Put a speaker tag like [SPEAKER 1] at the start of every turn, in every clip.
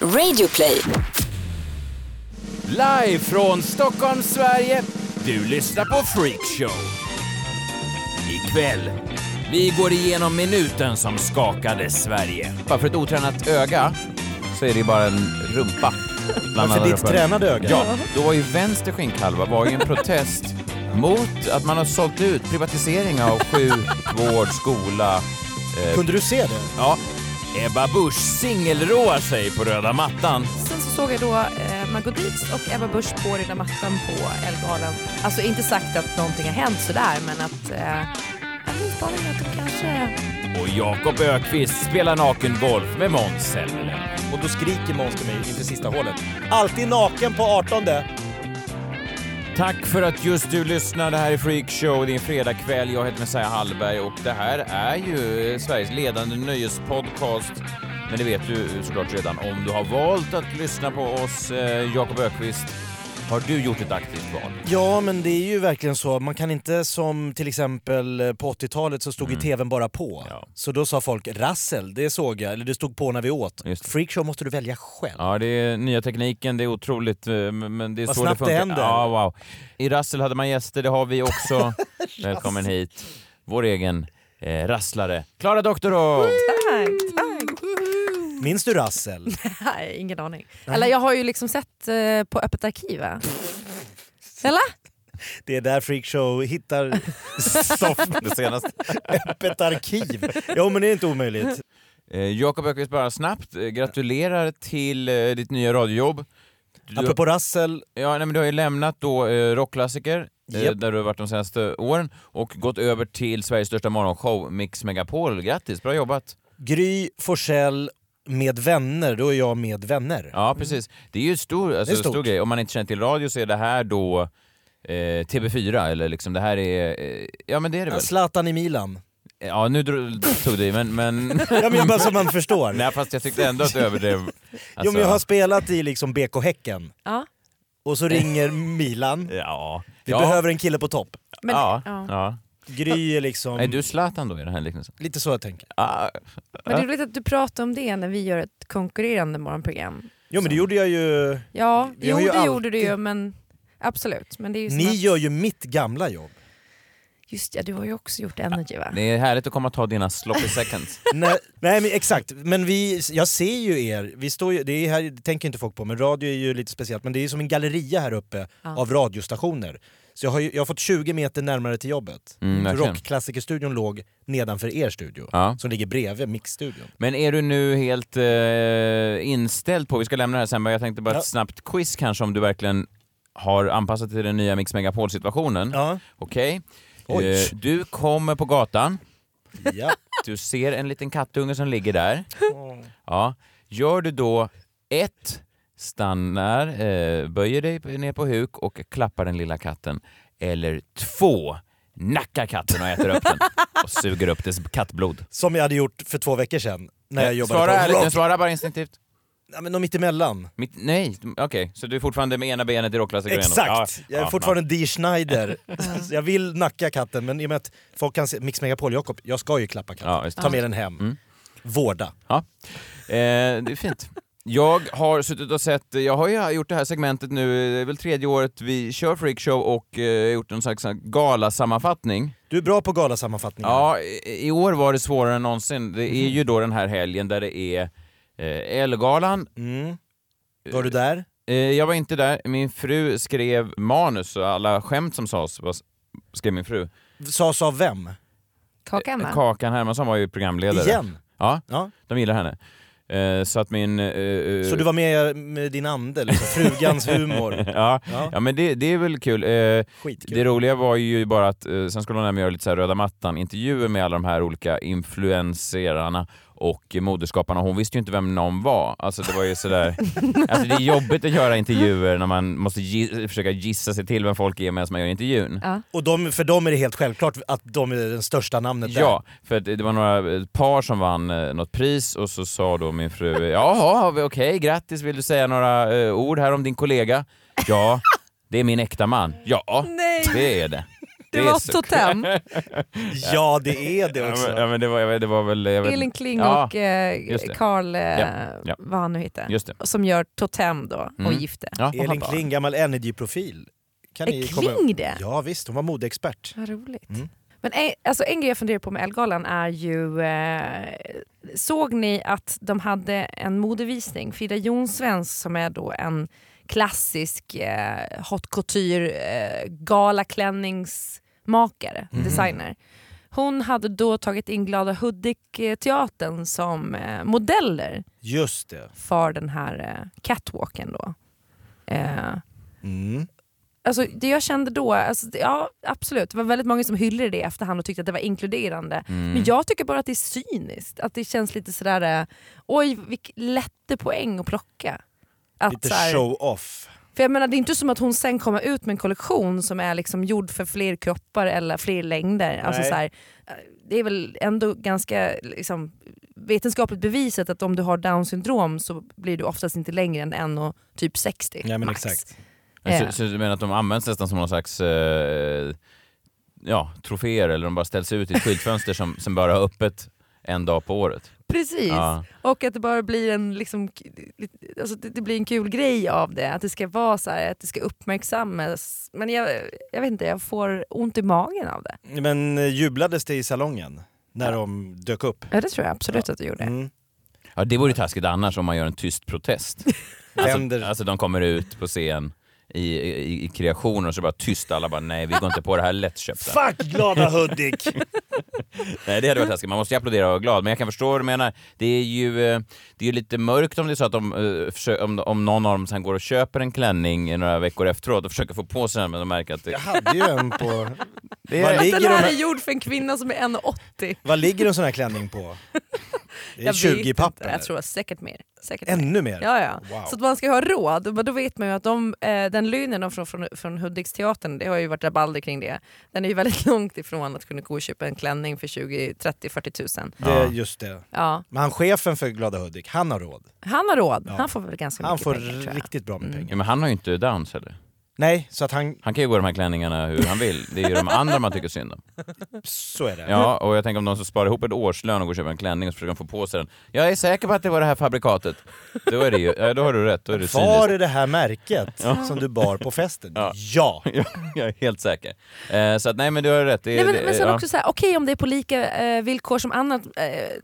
[SPEAKER 1] Radioplay.
[SPEAKER 2] Live från Stockholm, Sverige. Du lyssnar på Freakshow. Ikväll. Vi går igenom minuten som skakade Sverige. Bara för ett otränat öga så är det bara en rumpa. bland alla
[SPEAKER 3] För Alltså ditt
[SPEAKER 2] rumpor.
[SPEAKER 3] tränade öga?
[SPEAKER 2] Ja, då var ju vänster skinkhalva var ju en protest mot att man har sålt ut privatisering av sjukvård, skola,
[SPEAKER 3] Kunde du se det?
[SPEAKER 2] Ja, Ebba Busch singelroar sig på röda mattan.
[SPEAKER 4] Sen så såg jag då eh, Margot Dietz och Ebba Busch på röda mattan på Ellegalan. Alltså inte sagt att någonting har hänt sådär men att... Eh, jag vet inte, att de kanske...
[SPEAKER 2] Och Jakob Ökvist spelar naken-golf med Måns Zelmerlöw.
[SPEAKER 3] Och då skriker Måns till mig inför sista hålet. Alltid naken på 18.
[SPEAKER 2] Tack för att just du lyssnar. Det här är Freakshow, det är en fredagkväll. Jag heter Messiah Hallberg och det här är ju eh, Sveriges ledande nöjespodcast. Men det vet du såklart redan om du har valt att lyssna på oss. Eh, Jakob Ökvist, har du gjort ett aktivt val?
[SPEAKER 3] Ja, men det är ju verkligen så. Man kan inte som till exempel eh, på 80-talet så stod ju tvn bara på.
[SPEAKER 2] Ja.
[SPEAKER 3] Så då sa folk rassel, det såg jag, eller det stod på när vi åt.
[SPEAKER 2] Just det.
[SPEAKER 3] Freakshow måste du välja själv.
[SPEAKER 2] Ja, det är nya tekniken, det är otroligt, eh, men men det är
[SPEAKER 3] Vad
[SPEAKER 2] så det
[SPEAKER 3] snabbt det
[SPEAKER 2] funkar.
[SPEAKER 3] händer.
[SPEAKER 2] Ja, wow. I Rassel hade man gäster, det har vi också. Välkommen hit, vår egen eh, rasslare, Klara Doktorov!
[SPEAKER 4] Tack, tack.
[SPEAKER 3] Minns du rassel?
[SPEAKER 4] Nej, ingen aning. Eller jag har ju liksom sett eh, på Öppet arkiv va? Eller?
[SPEAKER 3] Det är där Freakshow hittar stoff.
[SPEAKER 2] Det senaste.
[SPEAKER 3] Öppet arkiv. Jo, men det är inte omöjligt.
[SPEAKER 2] Eh, Jakob Öqvist, bara snabbt, eh, gratulerar till eh, ditt nya radiojobb. Du,
[SPEAKER 3] Apropå rassel,
[SPEAKER 2] ja, nej, men du har ju lämnat då eh, rockklassiker, eh,
[SPEAKER 3] Japp.
[SPEAKER 2] där du har varit de senaste åren, och gått över till Sveriges största morgonshow, Mix Megapol. Grattis, bra jobbat!
[SPEAKER 3] Gry Forsell med vänner, då är jag med vänner.
[SPEAKER 2] Ja, precis. Det är ju en stor, alltså,
[SPEAKER 3] Mm. Det är stort.
[SPEAKER 2] stor grej. Om man inte känner till radio så är det här då eh, TV4, eller liksom det här är... Eh, ja, men det är det väl?
[SPEAKER 3] Zlatan i Milan.
[SPEAKER 2] Ja, nu dro- tog du i, men... men
[SPEAKER 3] Ja, men bara så man förstår.
[SPEAKER 2] nej, fast jag tyckte ändå att du överdrev.
[SPEAKER 3] Jo,
[SPEAKER 2] Alltså,
[SPEAKER 3] men jag har spelat i liksom BK Häcken
[SPEAKER 4] Ja.
[SPEAKER 3] och så ringer Milan.
[SPEAKER 2] Ja.
[SPEAKER 3] Vi
[SPEAKER 2] ja.
[SPEAKER 3] behöver en kille på topp.
[SPEAKER 4] Men,
[SPEAKER 2] ja, ja.
[SPEAKER 4] ja.
[SPEAKER 3] Gry är liksom...
[SPEAKER 2] Är du Zlatan då i den här liknelsen?
[SPEAKER 3] Lite så jag tänker.
[SPEAKER 2] Ah,
[SPEAKER 4] men det är roligt att du pratar om det när vi gör ett konkurrerande morgonprogram.
[SPEAKER 3] Jo, men det gjorde jag ju...
[SPEAKER 4] Ja,
[SPEAKER 3] Vi
[SPEAKER 4] jo
[SPEAKER 3] har ju
[SPEAKER 4] det
[SPEAKER 3] alltid-
[SPEAKER 4] gjorde du ju men absolut. Men det är ju som
[SPEAKER 3] Ni
[SPEAKER 4] att,
[SPEAKER 3] gör ju mitt gamla jobb.
[SPEAKER 4] Just ja, du har ju också gjort Energy va?
[SPEAKER 2] det är härligt att komma och ta dina sloppy seconds.
[SPEAKER 3] Nej, nej men exakt, men vi, jag ser ju er. Vi står ju, det, är här, det tänker inte folk på, men radio är ju lite speciellt. Men det är som en galleria här uppe
[SPEAKER 4] Ja.
[SPEAKER 3] av radiostationer. Så jag har, ju, jag har fått 20 meter närmare till jobbet.
[SPEAKER 2] Mm, verkligen.
[SPEAKER 3] Rockklassikerstudion låg nedanför er studio,
[SPEAKER 2] Ja.
[SPEAKER 3] som ligger bredvid mixstudion.
[SPEAKER 2] Men är du nu helt eh, inställd på, vi ska lämna det här sen, men jag tänkte bara
[SPEAKER 3] Ja.
[SPEAKER 2] ett snabbt quiz kanske om du verkligen har anpassat dig till den nya Mix Megapol-situationen.
[SPEAKER 3] Ja.
[SPEAKER 2] Okej.
[SPEAKER 3] Oj.
[SPEAKER 2] Eh, du kommer på gatan,
[SPEAKER 3] ja.
[SPEAKER 2] du ser en liten kattunge som ligger där. Ja. Gör du då ett, stannar, eh, böjer dig ner på huk och klappar den lilla katten. Eller två, nackar katten och äter upp den och suger upp dess kattblod.
[SPEAKER 3] Som jag hade gjort för två veckor sedan när jag jobbade
[SPEAKER 2] svara
[SPEAKER 3] på
[SPEAKER 2] ärligt nu,
[SPEAKER 3] rock.
[SPEAKER 2] svara bara instinktivt.
[SPEAKER 3] Ja, men de mittemellan.
[SPEAKER 2] Mitt, nej, okej, så du är fortfarande med ena benet i rockklassiker
[SPEAKER 3] Exakt! jag är fortfarande Dee Schneider. Så jag vill nacka katten men i och med att folk kan se Mix Megapol Jakob, jag ska ju klappa katten.
[SPEAKER 2] Ja, just det.
[SPEAKER 3] Ta med den hem.
[SPEAKER 2] Mm.
[SPEAKER 3] Vårda.
[SPEAKER 2] Ja. Eh, det är fint. Jag har suttit och sett, jag har ju gjort det här segmentet nu, det är väl tredje året vi kör Freakshow och eh, gjort en slags galasammanfattning.
[SPEAKER 3] Du är bra på galasammanfattningar.
[SPEAKER 2] Ja, i- i år var det svårare än någonsin. Det är ju då den här helgen där det är eh, Ellegalan.
[SPEAKER 3] Mm. Var du där?
[SPEAKER 2] Eh, jag var inte där, min fru skrev manus och alla skämt som sades var, skrev min fru.
[SPEAKER 3] Sa sa vem? eh,
[SPEAKER 4] Kakan va?
[SPEAKER 2] Kakan Hermansson var ju programledare.
[SPEAKER 3] Igen?
[SPEAKER 2] Ja,
[SPEAKER 3] Ja.
[SPEAKER 2] De gillar henne. Eh, så att min... eh,
[SPEAKER 3] Så du var med med din ande, liksom. frugans humor.
[SPEAKER 2] ja,
[SPEAKER 3] Ja.
[SPEAKER 2] ja, men det, det är väl kul. Eh,
[SPEAKER 3] Skitkul.
[SPEAKER 2] det roliga var ju bara att eh, sen skulle hon nämligen göra lite så här röda mattan-intervjuer med alla de här olika influencerarna och eh, moderskaparna. Hon visste ju inte vem någon var. Alltså det var ju sådär... alltså det är jobbigt att göra intervjuer när man måste gi- försöka gissa sig till vem folk är medan man gör intervjun.
[SPEAKER 4] Ja.
[SPEAKER 3] Och de, för dem är det helt självklart att de är det största namnet där.
[SPEAKER 2] Ja, för att det var några ett par som vann eh, något pris och så sa då min fru Jaha, har vi- okej, grattis, vill du säga några eh, ord här om din kollega? Ja, det är min äkta man. Ja,
[SPEAKER 4] Nej.
[SPEAKER 2] det är det.
[SPEAKER 4] Det var
[SPEAKER 2] så-
[SPEAKER 4] Totem.
[SPEAKER 3] Ja, det är det
[SPEAKER 2] Ja,
[SPEAKER 3] också.
[SPEAKER 2] men, ja, men det, var, det var väl... Jag vet,
[SPEAKER 4] Elin Kling
[SPEAKER 2] Ja,
[SPEAKER 4] och eh,
[SPEAKER 2] just det.
[SPEAKER 4] Carl, eh,
[SPEAKER 2] ja.
[SPEAKER 4] vad han nu heter,
[SPEAKER 2] Just det.
[SPEAKER 4] som gör Totem då och
[SPEAKER 2] Mm.
[SPEAKER 4] gifte.
[SPEAKER 2] Ja.
[SPEAKER 4] Och har
[SPEAKER 3] Elin
[SPEAKER 4] barn.
[SPEAKER 3] Kling, gammal Energy-profil. Kan
[SPEAKER 4] Är
[SPEAKER 3] ni komma
[SPEAKER 4] Kling det?
[SPEAKER 3] Ja visst, hon var modeexpert.
[SPEAKER 4] Vad roligt.
[SPEAKER 3] Mm.
[SPEAKER 4] Men en, alltså en grej jag funderar på med Ellegalan är ju... Eh, såg ni att de hade en modevisning? Frida Jonsvensk som är då en klassisk eh, haute couture eh, galaklänningsmakare, designer. Hon hade då tagit in Glada Hudik-teatern som eh, modeller
[SPEAKER 3] Just det.
[SPEAKER 4] för den här eh, catwalken då. Eh,
[SPEAKER 3] Mm.
[SPEAKER 4] Alltså, det jag kände då, alltså, det- ja absolut, det var väldigt många som hyllade det i efterhand och tyckte att det var inkluderande.
[SPEAKER 3] Mm.
[SPEAKER 4] Men jag tycker bara att det är cyniskt. Att det känns lite sådär, eh, oj vilk lätte poäng att plocka. Att,
[SPEAKER 3] Lite
[SPEAKER 4] så här-
[SPEAKER 3] show-off.
[SPEAKER 4] för jag menar, det är inte som att hon sen kommer ut med en kollektion som är liksom gjord för fler kroppar eller fler längder. Alltså
[SPEAKER 3] Nej.
[SPEAKER 4] så här, det är väl ändå ganska liksom, vetenskapligt bevisat att om du har down syndrom så blir du oftast inte längre än 1 och typ 60
[SPEAKER 3] Ja, men
[SPEAKER 4] max.
[SPEAKER 3] exakt.
[SPEAKER 2] Så, så du menar att de används nästan som någon slags eh, ja, troféer eller de bara ställs ut i ett skyltfönster som, som bara har öppet en dag på året?
[SPEAKER 4] Precis.
[SPEAKER 2] Ja.
[SPEAKER 4] Och att det bara blir en, liksom, k- lite- alltså det, det blir en kul grej av det. Att det ska vara så här, att det ska uppmärksammas. Men jag, jag vet inte, jag får ont i magen av det.
[SPEAKER 3] Men eh, jublades det i salongen när de dök upp?
[SPEAKER 4] Ja, det tror jag absolut att du gjorde.
[SPEAKER 3] Mm.
[SPEAKER 2] Ja, det vore ju taskigt annars om man gör en tyst protest.
[SPEAKER 3] Vänder-
[SPEAKER 2] Alltså, alltså de kommer ut på scen i, i, i kreationer och så bara tyst, alla bara nej vi går inte på det här lättköpta.
[SPEAKER 3] Fuck glada Hudik!
[SPEAKER 2] Nej det hade
[SPEAKER 4] Mm.
[SPEAKER 2] varit taskigt, man måste ju applådera och vara glad. Men jag kan förstå vad du menar. Det är ju, eh, det är ju lite mörkt om det är så att de, eh, försö- om, om någon av dem sen går och köper en klänning i några veckor efteråt och försöker få på sig den men de märker att
[SPEAKER 3] Jag
[SPEAKER 2] det...
[SPEAKER 3] hade ju en på...
[SPEAKER 2] det
[SPEAKER 3] Vad
[SPEAKER 2] är,
[SPEAKER 3] li-
[SPEAKER 4] Att
[SPEAKER 3] ligger
[SPEAKER 4] den
[SPEAKER 3] de
[SPEAKER 4] här
[SPEAKER 3] här-
[SPEAKER 4] är gjord för en kvinna som är 1,80.
[SPEAKER 3] Vad ligger en sån här klänning på? Det är
[SPEAKER 4] Jag vet
[SPEAKER 3] 20
[SPEAKER 4] inte.
[SPEAKER 3] papper.
[SPEAKER 4] Jag tror säkert mer. Säkert mer.
[SPEAKER 3] Ännu mer?
[SPEAKER 4] Ja, ja.
[SPEAKER 3] Wow.
[SPEAKER 4] Så att man ska ha råd, men då vet man ju att de, eh, den lynen de från, från, från Hudiksteatern, det har ju varit rabalder kring det. Den är ju väldigt långt ifrån att kunna gå och köpa en klänning för 20, 30, 40 tusen.
[SPEAKER 3] Det är just det.
[SPEAKER 4] Ja.
[SPEAKER 3] Men han chefen för Glada Hudik, han har råd.
[SPEAKER 4] Han har råd.
[SPEAKER 3] Ja.
[SPEAKER 4] Han får väl ganska
[SPEAKER 3] Han
[SPEAKER 4] mycket
[SPEAKER 3] får
[SPEAKER 4] pengar tror jag. Mm.
[SPEAKER 3] riktigt bra med pengar.
[SPEAKER 2] ja, men han har ju inte downs heller.
[SPEAKER 3] Nej, så att han...
[SPEAKER 2] Han kan ju gå i de här klänningarna hur han vill. Det är ju de andra man tycker synd om.
[SPEAKER 3] Så är det.
[SPEAKER 2] Ja, och jag tänker om de som sparar ihop ett årslön och går och köper en klänning och så försöker de få på sig den. Jag är säker på att det var det här fabrikatet. Då, är det ju, ja, då har du rätt, då är det
[SPEAKER 3] Var
[SPEAKER 2] cyniskt.
[SPEAKER 3] är det här märket som du bar på festen?
[SPEAKER 2] Ja.
[SPEAKER 3] Ja!
[SPEAKER 2] Ja, Jag är helt säker. Eh, så att nej men du har rätt. Det, är-
[SPEAKER 4] Nej, men,
[SPEAKER 2] det,
[SPEAKER 4] men sen
[SPEAKER 2] ja.
[SPEAKER 4] också så här, okej om det är på lika eh, villkor som annat, eh,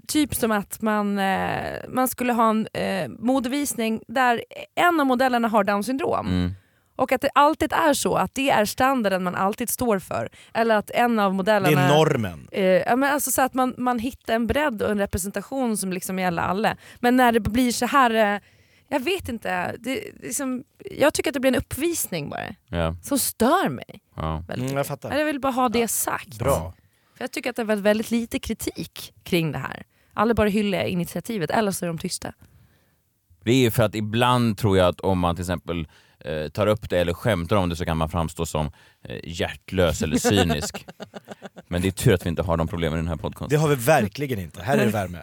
[SPEAKER 4] typ som att man, eh, man skulle ha en eh, modevisning där en av modellerna har down syndrom.
[SPEAKER 2] Mm.
[SPEAKER 4] Och att det alltid är så att det är standarden man alltid står för. Eller att en av
[SPEAKER 3] Det
[SPEAKER 4] modellerna...
[SPEAKER 3] är normen.
[SPEAKER 4] Eh, ja, men alltså så att man, man hittar en bredd och en representation som liksom gäller alla. Men när det blir så här, eh, jag vet inte. Det, liksom, jag tycker att det blir en uppvisning bara.
[SPEAKER 2] Ja,
[SPEAKER 4] Som stör mig.
[SPEAKER 2] ja.
[SPEAKER 4] Väldigt
[SPEAKER 3] Mm,
[SPEAKER 4] mycket.
[SPEAKER 3] jag fattar.
[SPEAKER 4] Men jag vill bara ha det sagt.
[SPEAKER 3] Bra.
[SPEAKER 4] För jag tycker att det har varit väldigt lite kritik kring det här. Alla bara hyllar initiativet, eller så är de tysta.
[SPEAKER 2] Det är ju för att ibland tror jag att om man till exempel eh, tar upp det eller skämtar om det så kan man framstå som eh, hjärtlös eller cynisk. Men det är tur att vi inte har de problemen i den här
[SPEAKER 3] Det
[SPEAKER 2] podcasten.
[SPEAKER 3] har vi verkligen inte. Här är det värme.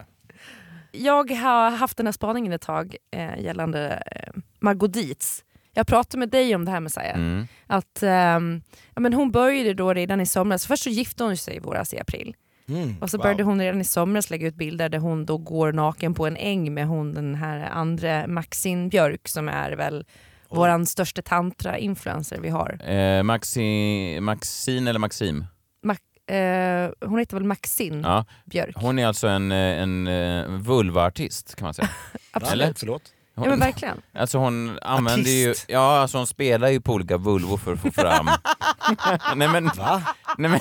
[SPEAKER 4] Jag har haft den här spaningen ett tag eh, gällande eh, Margot Dietz. Jag pratade med dig om det här Messiah.
[SPEAKER 2] Mm.
[SPEAKER 4] Att, ehm, ja, men hon började då redan i somras, först så gifte hon sig i våras i april.
[SPEAKER 3] Mm,
[SPEAKER 4] Och så
[SPEAKER 3] wow.
[SPEAKER 4] började hon redan i somras lägga ut bilder där hon då går naken på en äng med hon den här andra Maxine Björk som är väl våran största tantra-influencer vi har.
[SPEAKER 2] Eh, Maxi, Maxine eller
[SPEAKER 3] Mm.
[SPEAKER 2] Maxim?
[SPEAKER 4] Mac- eh, hon heter väl Maxine
[SPEAKER 2] Ja.
[SPEAKER 4] Björk?
[SPEAKER 2] Hon är alltså en, eh, en eh, vulvaartist kan man säga.
[SPEAKER 4] Absolut.
[SPEAKER 2] eller?
[SPEAKER 3] Förlåt?
[SPEAKER 4] Ja men verkligen.
[SPEAKER 2] Alltså hon använder ju,
[SPEAKER 3] Artist.
[SPEAKER 2] ja alltså hon spelar ju på olika vulvor för att få fram... nej men,
[SPEAKER 3] Va?
[SPEAKER 2] nej men...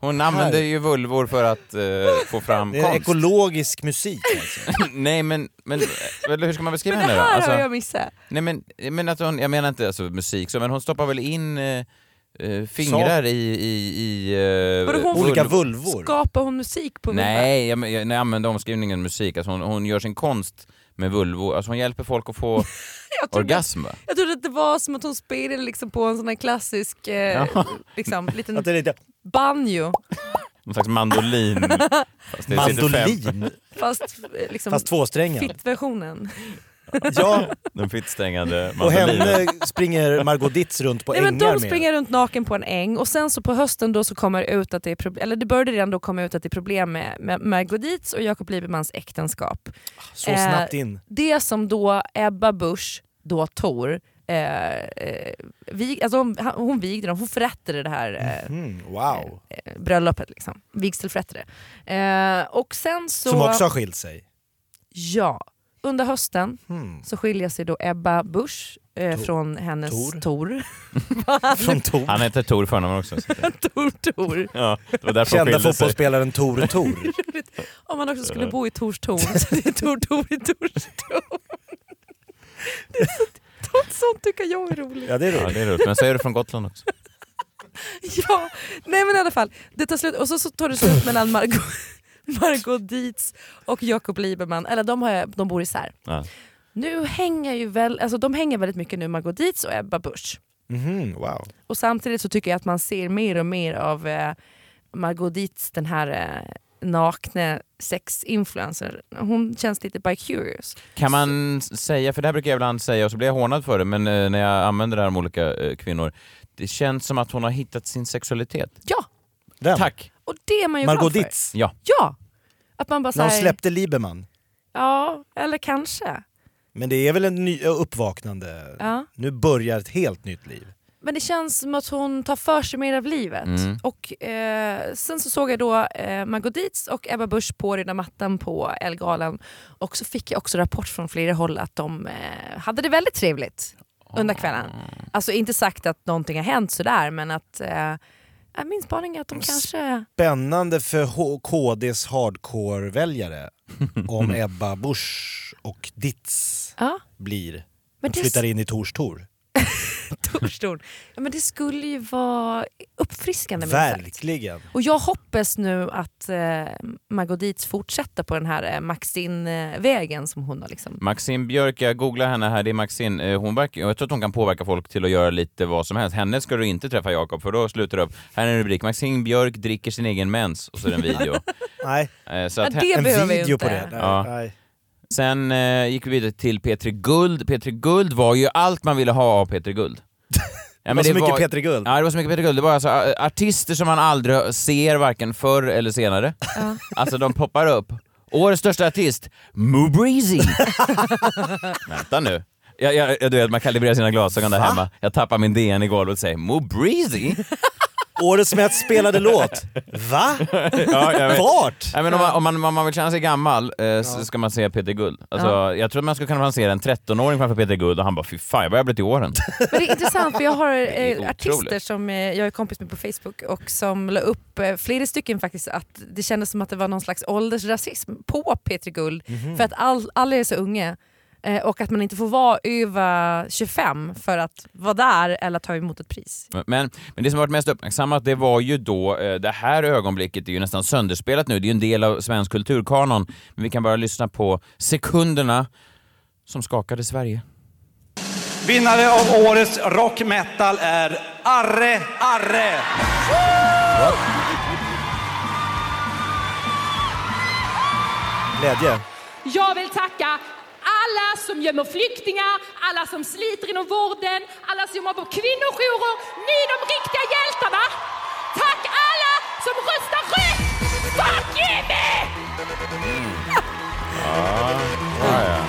[SPEAKER 2] Hon använder ju vulvor för att eh, få fram
[SPEAKER 3] Det är
[SPEAKER 2] konst.
[SPEAKER 3] ekologisk musik alltså.
[SPEAKER 2] nej men, men, eh, eller hur ska man beskriva
[SPEAKER 4] Men det
[SPEAKER 2] henne då?
[SPEAKER 4] här
[SPEAKER 2] Alltså,
[SPEAKER 4] har jag missat.
[SPEAKER 2] Nej men, men att hon, jag menar inte alltså musik så, men hon stoppar väl in eh, eh, fingrar i... i, i eh,
[SPEAKER 4] Vadå, hon-
[SPEAKER 2] vulv-
[SPEAKER 3] Olika vulvor.
[SPEAKER 4] Skapar hon musik på Vulva?
[SPEAKER 2] Nej, jag, men- jag, när jag använde omskrivningen musik. Alltså hon, hon gör sin konst med vulvor. Alltså hon hjälper folk att få
[SPEAKER 4] Jag trodde-
[SPEAKER 2] orgasm va?
[SPEAKER 4] Jag trodde att det var som att hon spelade liksom på en sån här klassisk eh, liksom, liten
[SPEAKER 3] Att det är lite
[SPEAKER 4] banjo.
[SPEAKER 2] Någon slags mandolin. Fast det sitter fem-
[SPEAKER 3] mandolin,
[SPEAKER 4] Fast eh, liksom,
[SPEAKER 3] fast tvåsträngad.
[SPEAKER 4] fitt-versionen.
[SPEAKER 3] Ja,
[SPEAKER 2] Den fittstängande
[SPEAKER 3] och
[SPEAKER 2] mandolinen.
[SPEAKER 3] henne springer Margot Ditz runt på
[SPEAKER 4] Nej, men
[SPEAKER 3] ängar
[SPEAKER 4] de
[SPEAKER 3] med.
[SPEAKER 4] springer runt naken på en äng och sen så på hösten då så kommer det ut att det är problem, eller det började redan då komma ut att det är problem med, med Margot Dietz och Jakob Libermans äktenskap.
[SPEAKER 3] Så
[SPEAKER 4] eh,
[SPEAKER 3] snabbt in.
[SPEAKER 4] Det som då Ebba Busch, då Tor, eh, eh, vig, alltså hon, han- hon vigde dem, hon förrättade det här eh,
[SPEAKER 3] Mm, wow.
[SPEAKER 4] eh, bröllopet, liksom. vigselförrättare. Eh, och sen så...
[SPEAKER 3] Som också har skilt sig.
[SPEAKER 4] Ja, under hösten
[SPEAKER 3] Hmm.
[SPEAKER 4] så skiljer sig då Ebba Busch eh,
[SPEAKER 3] Tor.
[SPEAKER 4] från hennes
[SPEAKER 3] Tor.
[SPEAKER 4] Tor.
[SPEAKER 3] Från Tor.
[SPEAKER 2] Han heter Tor i förnamn också. så att-
[SPEAKER 4] Tor, Tor.
[SPEAKER 2] Ja, det var därför
[SPEAKER 3] Kända
[SPEAKER 2] hon skilde sig.
[SPEAKER 3] fotbollsspelaren Tor Tor.
[SPEAKER 4] Om man också
[SPEAKER 3] Eh.
[SPEAKER 4] skulle bo i Tors torn. Så det är Tor Tor i Tors torn. Det är så, sånt, sånt tycker jag är roligt.
[SPEAKER 3] Ja, det är
[SPEAKER 2] Ja,
[SPEAKER 3] roligt.
[SPEAKER 2] det är roligt. Men så är du från Gotland också.
[SPEAKER 4] Ja, nej men i alla fall. Det tar slut och så, så tar det slut mellan Margot, Margot Dietz och Jakob Lieberman. Eller de, har, de bor isär.
[SPEAKER 2] Ja.
[SPEAKER 4] Nu hänger ju väl, alltså de hänger väldigt mycket nu Margot Dietz och Ebba Busch.
[SPEAKER 3] Mhm, wow.
[SPEAKER 4] Och samtidigt så tycker jag att man ser mer och mer av eh, Margot Dietz, den här eh, nakne sexinfluencer. Hon känns lite by curious.
[SPEAKER 2] Kan man s- säga, för det här brukar jag ibland säga och så blir jag hånad för det, men eh, när jag använder det här om olika eh, kvinnor. Det känns som att hon har hittat sin sexualitet.
[SPEAKER 4] Ja,
[SPEAKER 3] Vem?
[SPEAKER 2] Tack!
[SPEAKER 4] och det är man ju
[SPEAKER 3] Margot
[SPEAKER 4] glad för.
[SPEAKER 3] Ditz.
[SPEAKER 2] Ja.
[SPEAKER 4] Ja! Att man bara
[SPEAKER 3] När hon
[SPEAKER 4] såhär,
[SPEAKER 3] släppte Lieberman.
[SPEAKER 4] ja eller kanske.
[SPEAKER 3] Men det är väl en ny uppvaknande.
[SPEAKER 4] Ja.
[SPEAKER 3] Nu börjar ett helt nytt liv.
[SPEAKER 4] Men det känns som att hon tar för sig mer av livet.
[SPEAKER 2] Mm.
[SPEAKER 4] Och eh, sen så såg jag då eh, Margot Dietz och Ebba Busch på röda mattan på Ellegalan. Och så fick jag också rapport från flera håll att de eh, hade det väldigt trevligt under kvällen. Alltså inte sagt att någonting har hänt sådär men att eh, ja, min spaning är att de kanske...
[SPEAKER 3] Spännande för H- KDs hardcore-väljare om Ebba Busch och Ditz
[SPEAKER 4] Ja,
[SPEAKER 3] blir,
[SPEAKER 4] men det,
[SPEAKER 3] flyttar in i Tors Tor.
[SPEAKER 4] Torstorn. Ja, men det skulle ju vara uppfriskande. minst sagt.
[SPEAKER 3] Verkligen.
[SPEAKER 4] Och jag hoppas nu att eh, Margot Dietz fortsätter på den här eh, Maxine-vägen som hon har liksom.
[SPEAKER 2] Maxine Björk, jag googlar henne här, det är Maxine. Eh, Hon verkar, jag tror att hon kan påverka folk till att göra lite vad som helst. Henne ska du inte träffa Jakob för då slutar du upp. Här är en rubrik, Maxine Björk dricker sin egen mens och så är det en video.
[SPEAKER 3] Nej,
[SPEAKER 2] Eh, Så
[SPEAKER 4] Ja,
[SPEAKER 2] att he-
[SPEAKER 4] det
[SPEAKER 3] en
[SPEAKER 4] behöver vi
[SPEAKER 3] video
[SPEAKER 4] inte.
[SPEAKER 3] på det. Nej,
[SPEAKER 2] Ja.
[SPEAKER 3] nej.
[SPEAKER 2] Sen eh, gick vi vidare till Petri Guld. Petri Guld var ju allt man ville ha av Petri Guld. Ja,
[SPEAKER 3] det var så mycket Petri Guld.
[SPEAKER 2] Ja, det var så mycket Peter Guld. Det var alltså eh, artister som man aldrig ser, varken förr eller senare.
[SPEAKER 4] Ja.
[SPEAKER 2] Alltså de poppar upp. Årets största artist, Moo Breezy. Vänta nu. Jag, jag, jag, du vet, man kalibrerar sina glasögon där hemma. Jag tappar min DN i golvet och säger Moo Breezy?
[SPEAKER 3] Årets mest spelade låt. Va?
[SPEAKER 2] Ja, jag vet.
[SPEAKER 3] Vart?
[SPEAKER 2] Nej, men om, man, om, man, om man vill känna sig gammal eh, så ska man se Peter Guld. Alltså, Jag tror att man skulle kunna placera en 13-åring framför Peter Guld och han bara fy fan jag börjar bli till åren.
[SPEAKER 4] Men det är intressant för jag har
[SPEAKER 2] är
[SPEAKER 4] eh,
[SPEAKER 2] otroligt.
[SPEAKER 4] artister som eh, jag är kompis med på Facebook och som la upp eh, flera stycken faktiskt att det kändes som att det var någon slags åldersrasism på Petri Guld för att all, alla är så unga. eh, Och att man inte får vara över 25 för att vara där eller ta emot ett pris.
[SPEAKER 2] Men, men det som varit mest uppmärksammat det var ju då, eh, det här ögonblicket är ju nästan sönderspelat nu, det är ju en del av svensk kulturkanon. Men vi kan bara lyssna på sekunderna som skakade Sverige.
[SPEAKER 1] Vinnare av årets rock metal är Arre Arre.
[SPEAKER 3] Glädje.
[SPEAKER 5] Jag vill tacka alla som gömmer flyktingar, alla som sliter inom vården, alla som jobbar på kvinnojourer. Ni är de riktiga hjältarna! Tack alla som röstar rött! Fuck Jimmy!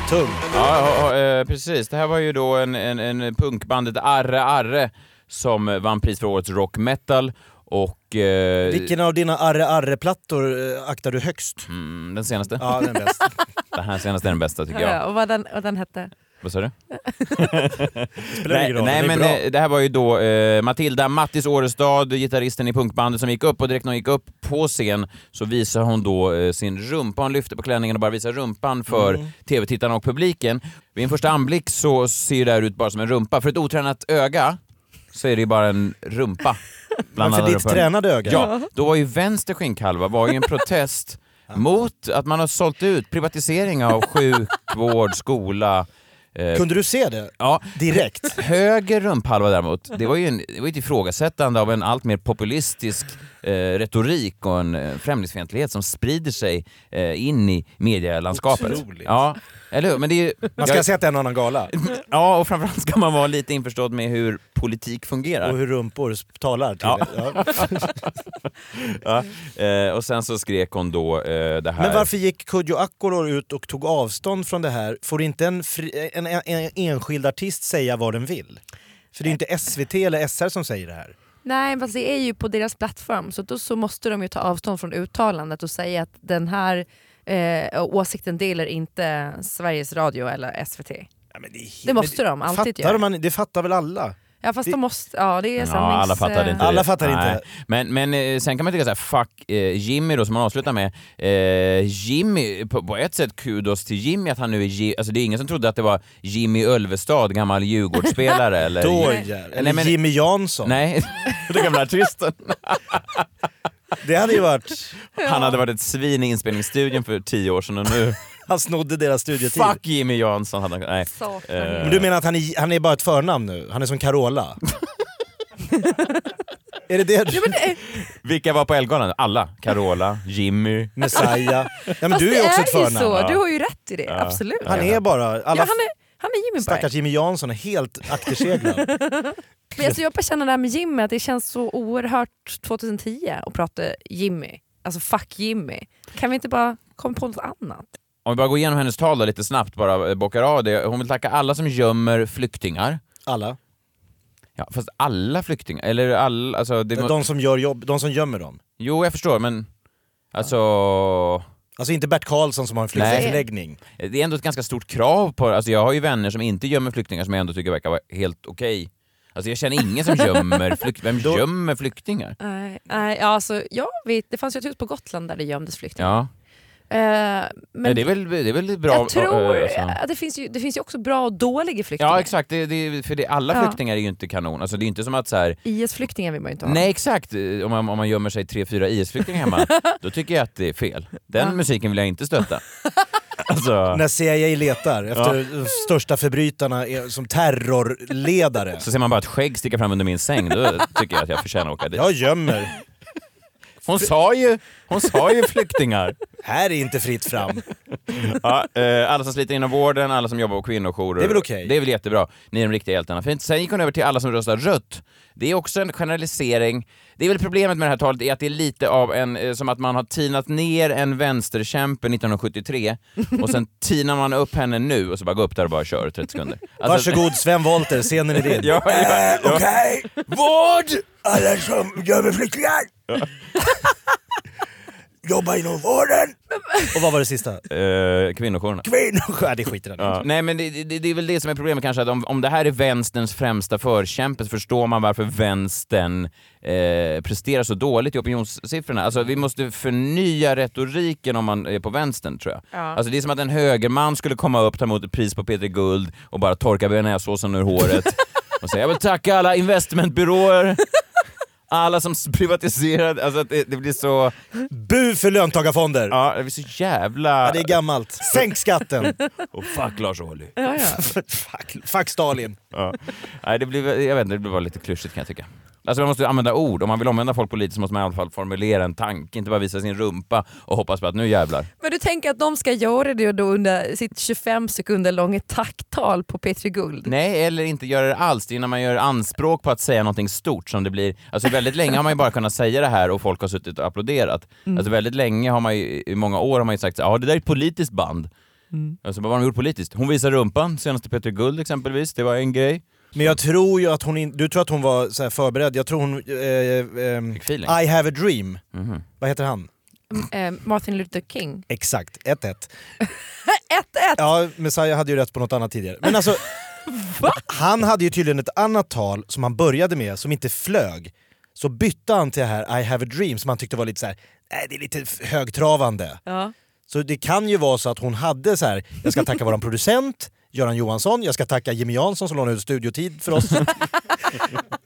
[SPEAKER 3] Tung.
[SPEAKER 2] Ja, ja, ja, eh, precis. Det här var ju då en, en, en punkbandet Arre Arre som eh, vann pris för årets rock metal. Och eh,
[SPEAKER 3] Vilken av dina arre-arre-plattor eh, aktar du högst?
[SPEAKER 2] mm, den senaste.
[SPEAKER 3] Ja, den är bäst.
[SPEAKER 2] Den här senaste är den bästa tycker jag.
[SPEAKER 4] Ja, Eh, Och vad den, vad den hette?
[SPEAKER 2] Vad sa du?
[SPEAKER 3] Spelar
[SPEAKER 2] Nej,
[SPEAKER 3] ingen roll,
[SPEAKER 2] nej
[SPEAKER 3] den är
[SPEAKER 2] men
[SPEAKER 3] bra.
[SPEAKER 2] eh, det här var ju då eh, Matilda Mattis Årestad, gitarristen i punkbandet som gick upp och direkt när hon gick upp på scen så visade hon då eh, sin rumpa, hon lyfte på klänningen och bara visade rumpan för tv-tittarna och publiken. Vid en första anblick så ser det här ut bara som en rumpa, för ett otränat öga så är det ju bara en rumpa.
[SPEAKER 3] Men
[SPEAKER 2] Bland
[SPEAKER 3] för
[SPEAKER 2] alla
[SPEAKER 3] ditt
[SPEAKER 2] rumpor.
[SPEAKER 3] tränade öga.
[SPEAKER 2] Ja, då var ju vänster skinnkalva var ju en protest mot att man har sålt ut privatisering av sjukvård, skola,
[SPEAKER 3] Kunde du se det?
[SPEAKER 2] ja.
[SPEAKER 3] Direkt?
[SPEAKER 2] Höger rumphalva däremot, det var ju en, det var ju ett ifrågasättande av en allt mer populistisk eh, retorik och en eh, främlingsfientlighet som sprider sig eh, in i medielandskapet.
[SPEAKER 3] Otroligt.
[SPEAKER 2] Ja, eller hur? Men det är,
[SPEAKER 3] Man
[SPEAKER 2] jag-
[SPEAKER 3] ska ha sett en annan gala.
[SPEAKER 2] Ja, och framförallt ska man vara lite införstådd med hur politik fungerar.
[SPEAKER 3] Och hur rumpor sp- talar till
[SPEAKER 2] Ja.
[SPEAKER 3] ja.
[SPEAKER 2] Ja. Eh, och sen så skrek hon då eh, det här...
[SPEAKER 3] Men varför gick Kodjo Akolor ut och tog avstånd från det här? Får inte en, fri, en, en, en enskild artist säga vad den vill? För det är ju inte SVT eller SR som säger det här.
[SPEAKER 4] Nej, fast det är ju på deras plattform så då så måste de ju ta avstånd från uttalandet och säga att den här eh, åsikten delar inte Sveriges Radio eller SVT. Det måste de alltid
[SPEAKER 3] fattar
[SPEAKER 4] göra.
[SPEAKER 3] man, det fattar väl alla?
[SPEAKER 4] Ja fast
[SPEAKER 3] Det-
[SPEAKER 4] de måste, ja det är
[SPEAKER 2] Ja, alla
[SPEAKER 4] sannings...
[SPEAKER 2] fattade inte
[SPEAKER 4] eh,
[SPEAKER 3] Alla
[SPEAKER 2] det.
[SPEAKER 3] fattar inte.
[SPEAKER 2] Men, men eh, sen kan man tycka så här, fuck eh, Jimmy då som man avslutar med. Eh, Jimmy, på, på ett sätt kudos till Jimmy att han nu är Ji- Alltså det är ingen som trodde att det var Jimmy Ölvestad, gammal Djurgårdsspelare eller...
[SPEAKER 3] Då jävlar. Eller
[SPEAKER 2] Nej, men-
[SPEAKER 3] Jimmy Jansson.
[SPEAKER 2] Nej, den gamla artisten.
[SPEAKER 3] Det hade ju varit...
[SPEAKER 2] Han hade varit ett svin i inspelningsstudion för tio år sedan och nu...
[SPEAKER 3] Han snodde deras studiotid.
[SPEAKER 2] Fuck Jimmy Jansson hade han... Nej.
[SPEAKER 4] Saknar
[SPEAKER 2] Eh,
[SPEAKER 4] honom.
[SPEAKER 3] Men du menar att han är, han är bara ett förnamn nu? Han är som Carola? är det det du...
[SPEAKER 4] Ja, men det,
[SPEAKER 2] Vilka var på Ellegalan? Alla. Carola, Jimmy.
[SPEAKER 3] Messiah? Ja, men
[SPEAKER 4] fast
[SPEAKER 3] du
[SPEAKER 4] det
[SPEAKER 3] är också ett
[SPEAKER 4] ju så,
[SPEAKER 3] förnamn.
[SPEAKER 4] du har ju rätt i det, absolut.
[SPEAKER 3] Han är bara...
[SPEAKER 4] ja,
[SPEAKER 3] Alla
[SPEAKER 4] han, är, han är Jimmy Berg.
[SPEAKER 3] Stackars Jimmy Jansson är helt akterseglad.
[SPEAKER 4] Men alltså, jag bara känner det här med Jimmy, att det känns så oerhört 2010 att prata Jimmy. Alltså fuck Jimmy. Kan vi inte bara komma på något annat?
[SPEAKER 2] Om vi bara går igenom hennes tal då, lite snabbt, bara eh, bockar av det. Hon vill tacka alla som gömmer flyktingar.
[SPEAKER 3] Alla.
[SPEAKER 2] Ja, fast alla flyktingar, eller all, alltså, det må...
[SPEAKER 3] De som gör jobb, de som gömmer dem.
[SPEAKER 2] Jo, jag förstår, men alltså...
[SPEAKER 3] Alltså inte Bert Karlsson som har en flyktingförläggning.
[SPEAKER 2] eh, Det är ändå ett ganska stort krav på... Alltså jag har ju vänner som inte gömmer flyktingar som jag ändå tycker verkar vara helt okej. Alltså jag känner ingen som gömmer flyktingar. Vem
[SPEAKER 3] Då-
[SPEAKER 2] gömmer flyktingar?
[SPEAKER 4] Nej, nej ja, alltså, jag vet, det fanns ju ett hus på Gotland där det gömdes flyktingar.
[SPEAKER 2] Ja,
[SPEAKER 4] Eh,
[SPEAKER 2] men
[SPEAKER 4] men
[SPEAKER 2] det är väl, det är väl bra...
[SPEAKER 4] jag tror
[SPEAKER 2] eh, alltså.
[SPEAKER 4] att det finns, ju, det finns ju också bra och dåliga flyktingar.
[SPEAKER 2] Ja, exakt. Det, det, för det, alla
[SPEAKER 4] Ja.
[SPEAKER 2] flyktingar är ju inte kanon. Alltså det är inte som att så här,
[SPEAKER 4] IS-flyktingar vill man ju inte ha.
[SPEAKER 2] Nej exakt, Eh, om man, om man gömmer sig tre, fyra IS-flyktingar hemma, då tycker jag att det är fel. Den musiken vill jag inte stötta. Alltså,
[SPEAKER 3] När CIA letar efter de största förbrytarna är- som terrorledare.
[SPEAKER 2] så ser man bara ett skägg sticka fram under min säng, då tycker jag att jag förtjänar att åka dit.
[SPEAKER 3] Jag gömmer.
[SPEAKER 2] Hon sa ju, hon sa ju flyktingar!
[SPEAKER 3] Här är inte fritt fram.
[SPEAKER 2] Ja, eh, alla som sliter inom vården, alla som jobbar på kvinnojourer.
[SPEAKER 3] Det är väl okej?
[SPEAKER 2] Det är väl jättebra. Ni är de riktiga hjältarna. Fint. Sen gick hon över till alla som röstar rött. Det är också en generalisering. Det är väl problemet med det här talet, är att det är lite av en, eh, som att man har tinat ner en vänsterkämpe 1973 och sen tinar man upp henne nu och så bara gå upp där och bara kör 30 sekunder. Alltså-
[SPEAKER 3] Varsågod Sven Wollter, scenen är din.
[SPEAKER 2] Ja, ja, ja.
[SPEAKER 3] Eh, Okej,
[SPEAKER 2] Vård!
[SPEAKER 3] alla som gömmer flyktingar! Jobba inom vården! Och vad var det sista?
[SPEAKER 2] Eh, kvinnojourerna.
[SPEAKER 3] Kvinnor! Ja, det skiter han i.
[SPEAKER 2] Ja. Mm. Nej men det, det, det är väl det som är problemet kanske, att om, om det här är vänsterns främsta förkämpe så förstår man varför vänstern eh, presterar så dåligt i opinionssiffrorna. Alltså vi måste förnya retoriken om man är på vänstern tror jag. Alltså det är som att en högerman skulle komma upp, ta emot ett pris på Peter Guld och bara torka bearnaisesåsen ur håret och säga jag vill tacka alla investmentbyråer, alla som privatiserade, alltså att det, det blir så,
[SPEAKER 3] Bu för löntagarfonder!
[SPEAKER 2] ja det blir så jävla...
[SPEAKER 3] Ja, det är gammalt. Sänk skatten!
[SPEAKER 2] Och fuck Lars Ohly.
[SPEAKER 4] Ja, ja.
[SPEAKER 3] fuck, fuck Stalin.
[SPEAKER 2] Ja. Nej, det blir, jag vet inte, det blir bara lite klyschigt kan jag tycka. Alltså man måste använda ord. Om man vill omvända folk politiskt så måste man i alla fall formulera en tanke, inte bara visa sin rumpa och hoppas på att nu jävlar.
[SPEAKER 4] Men du tänker att de ska göra det då under sitt 25 sekunder långa tacktal på Petri Guld?
[SPEAKER 2] Nej, eller inte göra det alls. Det är när man gör anspråk på att säga någonting stort som det blir... Alltså väldigt länge har man ju bara kunnat säga det här och folk har suttit och applåderat. Alltså väldigt länge har man ju, i många år har man ju sagt så här, ja det där är ett politiskt band. Alltså vad har de gjort politiskt? Hon visar rumpan, senaste Peter Guld exempelvis, det var en grej.
[SPEAKER 3] Men jag tror ju att hon... In, du tror att hon var så här förberedd. Jag tror hon... Eh, ehm,
[SPEAKER 2] Fick feeling. Mhm.
[SPEAKER 3] I have a dream. Vad heter han?
[SPEAKER 2] Mm.
[SPEAKER 4] Eh, Martin Luther King.
[SPEAKER 3] Exakt, 1-1.
[SPEAKER 4] 1-1!
[SPEAKER 3] Ja, Messiah hade ju rätt på något annat tidigare. Men alltså... han hade ju tydligen ett annat tal som han började med som inte flög. Så bytte han till det här I have a dream som han tyckte var lite så här, nej det är lite f- högtravande.
[SPEAKER 4] Ja.
[SPEAKER 3] Så det kan ju vara så att hon hade så här, jag ska tacka våran producent, Göran Johansson, jag ska tacka Jimmy Jansson som lånade ut studiotid för oss.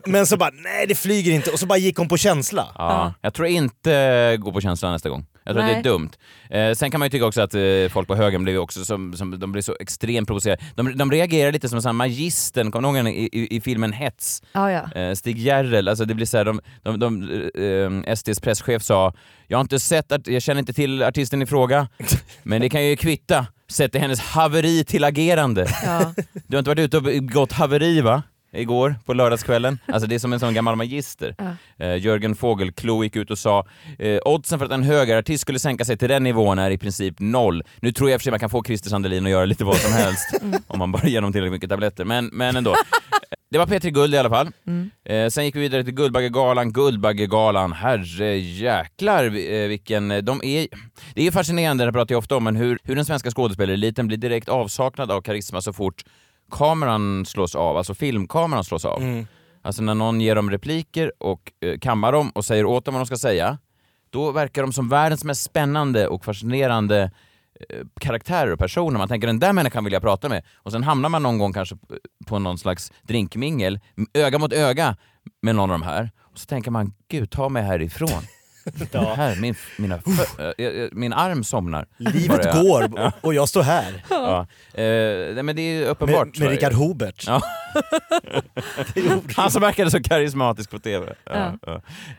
[SPEAKER 3] Men så bara, nej det flyger inte. Och så bara gick hon på känsla.
[SPEAKER 2] Ja. Jag tror inte gå på känslan nästa gång. Jag tror
[SPEAKER 4] Nej.
[SPEAKER 2] det är dumt. Eh, sen kan man ju tycka också att eh, folk på högern blev ju också som, som, de blev så extremt provocerade. De, de reagerar lite som sån magistern, kommer du ihåg henne i, i, i filmen Hets?
[SPEAKER 4] Ja, Ah, ja.
[SPEAKER 2] Eh, Stig Gerrel, alltså det blir så här, de, de, de, eh, eh, SDs presschef sa “Jag har inte sett, art- jag känner inte till artisten i fråga, men det kan ju kvitta, sett i hennes haveri till agerande”.
[SPEAKER 4] Ja.
[SPEAKER 2] Du har inte varit ute och begått haveri va? Igår på lördagskvällen. Alltså det är som en sån gammal magister. Eh, Jörgen Fogelklou gick ut och sa eh, oddsen för att en högerartist skulle sänka sig till den nivån är i princip noll. Nu tror jag i och för sig man kan få Christer Sandelin att göra lite vad som helst
[SPEAKER 4] Mm.
[SPEAKER 2] om man bara ger honom tillräckligt mycket tabletter. Men, men ändå. Det var P3 Guld i alla fall. Eh, sen gick vi vidare till Guldbaggegalan. Guldbaggegalan, herre jäklar eh, vilken... eh, De är, det är ju fascinerande, det pratar jag ofta om, men hur, hur den svenska skådespelareliten blir direkt avsaknad av karisma så fort kameran slås av, alltså filmkameran slås av. Alltså när någon ger dem repliker och eh, kammar dem och säger åt dem vad de ska säga, då verkar de som världens mest spännande och fascinerande eh, karaktärer och personer. Man tänker den där människan vill jag prata med. Och sen hamnar man någon gång kanske p- på någon slags drinkmingel, m- öga mot öga med någon av de här. Och så tänker man, gud ta mig härifrån. Det Här, min, mina, fö- eh, eh, min arm somnar. Bara
[SPEAKER 3] Livet
[SPEAKER 2] jag-
[SPEAKER 3] går och- och jag står här
[SPEAKER 2] Ja. Eh, nej, men det är ju uppenbart.
[SPEAKER 3] med,
[SPEAKER 2] tror
[SPEAKER 3] med
[SPEAKER 2] jag.
[SPEAKER 3] Richard Hobert.
[SPEAKER 2] Ja. Han som verkade så karismatisk på TV. Ja, ja.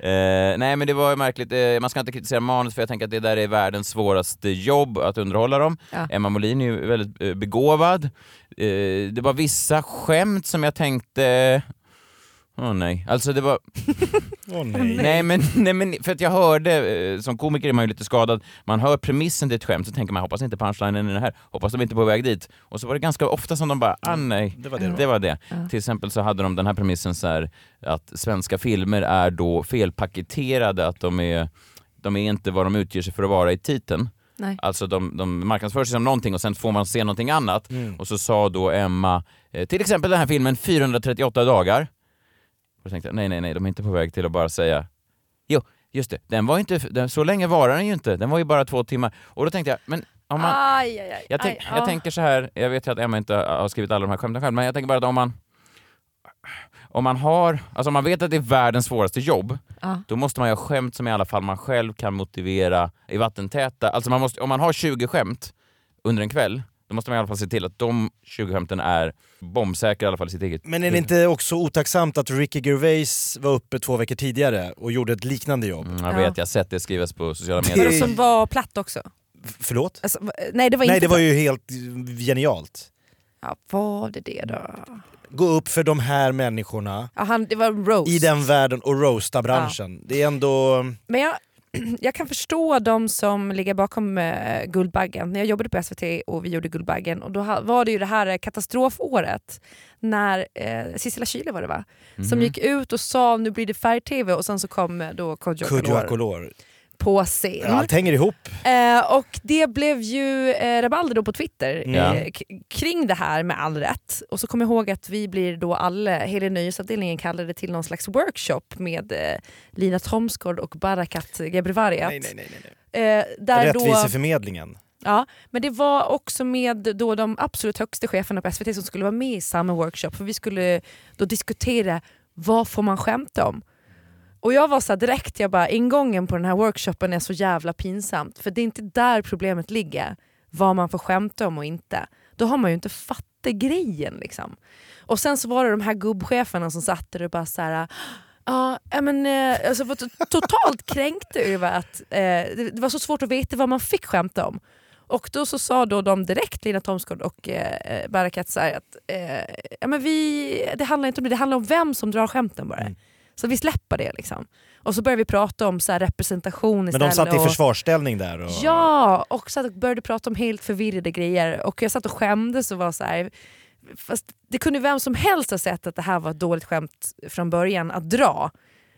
[SPEAKER 2] Eh, nej men det var ju märkligt, eh, man ska inte kritisera manus för jag tänker att det där är världens svåraste jobb att underhålla dem.
[SPEAKER 4] Ja.
[SPEAKER 2] Emma Molin är ju väldigt eh, begåvad. Eh, det var vissa skämt som jag tänkte, åh nej, alltså det var,
[SPEAKER 3] Åh, nej.
[SPEAKER 2] Nej men, nej men för att jag hörde, eh, som komiker är man ju lite skadad, man hör premissen till ett skämt så tänker man hoppas inte punchlinen är den här, hoppas de inte är på väg dit. Och så var det ganska ofta som de bara, ah nej, det var det. det, var det. Till exempel så hade de den här premissen så här, att svenska filmer är då felpaketerade, att de är, de är inte vad de utger sig för att vara i titeln.
[SPEAKER 4] Nej.
[SPEAKER 2] Alltså de, de marknadsför sig som någonting och sen får man se någonting annat. Och så sa då Emma, eh, till exempel den här filmen 438 dagar. Och så tänkte jag, nej nej nej, de är inte på väg till att bara säga Jo, just det, den var inte, den, så länge varar den ju inte, den var ju bara två timmar. Och då tänkte jag, men om man,
[SPEAKER 4] Aj, aj, aj.
[SPEAKER 2] jag, tänk,
[SPEAKER 4] aj,
[SPEAKER 2] jag
[SPEAKER 4] ja.
[SPEAKER 2] tänker så här, jag vet ju att Emma inte har skrivit alla de här skämten själv, men jag tänker bara att om man om man har, alltså om man vet att det är världens svåraste jobb,
[SPEAKER 4] Ja.
[SPEAKER 2] då måste man göra skämt som i alla fall man själv kan motivera i vattentäta. Alltså man måste, om man har 20 skämt under en kväll, då måste man i alla fall se till att de 20 skämten är bombsäkra i alla fall i sitt eget...
[SPEAKER 3] Men är det inte också otacksamt att Ricky Gervais var uppe två veckor tidigare och gjorde ett liknande jobb?
[SPEAKER 2] Mm, jag
[SPEAKER 4] Ja.
[SPEAKER 2] vet, jag har sett det skrivas på sociala
[SPEAKER 3] Det-
[SPEAKER 2] medier.
[SPEAKER 4] Och Som var platt också.
[SPEAKER 3] F- Förlåt?
[SPEAKER 4] Alltså, va- nej det var
[SPEAKER 3] Nej
[SPEAKER 4] inte
[SPEAKER 3] det var
[SPEAKER 4] platt.
[SPEAKER 3] ju helt genialt.
[SPEAKER 4] Ja, var det det då?
[SPEAKER 3] Gå upp för de här människorna
[SPEAKER 4] Ja, han, det var Rose.
[SPEAKER 3] i den världen och roasta branschen. Det är ändå...
[SPEAKER 4] Men jag, jag kan förstå de som ligger bakom eh, Guldbaggen. När jag jobbade på SVT och vi gjorde Guldbaggen och då ha, var det ju det här eh, katastrofåret när eh, Sissela Kyle var det va? Som gick ut och sa nu blir det färg-tv och sen så kom eh, då Kodjo
[SPEAKER 3] Kodjo
[SPEAKER 4] Akolor
[SPEAKER 3] Akolor.
[SPEAKER 4] på scen.
[SPEAKER 3] Allt hänger ihop.
[SPEAKER 4] Eh, och det blev ju eh, rabalder då på Twitter
[SPEAKER 2] Ja.
[SPEAKER 4] eh, k- kring det här med all rätt. Och så kommer jag ihåg att vi blir då alla, hela nyhetsavdelningen kallade till någon slags workshop med eh, Lina Thomsgård och Barakat Gebrevargat. Eh, där då,
[SPEAKER 3] Rättviseförmedlingen.
[SPEAKER 4] ja, men det var också med då de absolut högsta cheferna på SVT som skulle vara med i samma workshop för vi skulle då diskutera vad får man skämta om? Och jag var så här direkt, jag bara ingången på den här workshopen är så jävla pinsamt för det är inte där problemet ligger, vad man får skämta om och inte. Då har man ju inte fattat grejen liksom. Och sen så var det de här gubbcheferna som satt där och bara så här Ja, ja, men, eh, alltså, var to- totalt kränkta över att eh, det, det var så svårt att veta vad man fick skämta om. Och då så sa då de direkt, Lina Thomsgård och eh, Barakat, så här att eh, ja, men vi, det handlar inte om det, det handlar om vem som drar skämten bara. Så vi släpper det liksom. Och så börjar vi prata om så här, representation
[SPEAKER 3] Men
[SPEAKER 4] istället.
[SPEAKER 3] de satt i
[SPEAKER 4] och-
[SPEAKER 3] försvarsställning där. Och...
[SPEAKER 4] Ja, och så att jag började prata om helt förvirrade grejer och jag satt och skämdes och var så här. Fast det kunde vem som helst ha sett att det här var ett dåligt skämt från början att dra.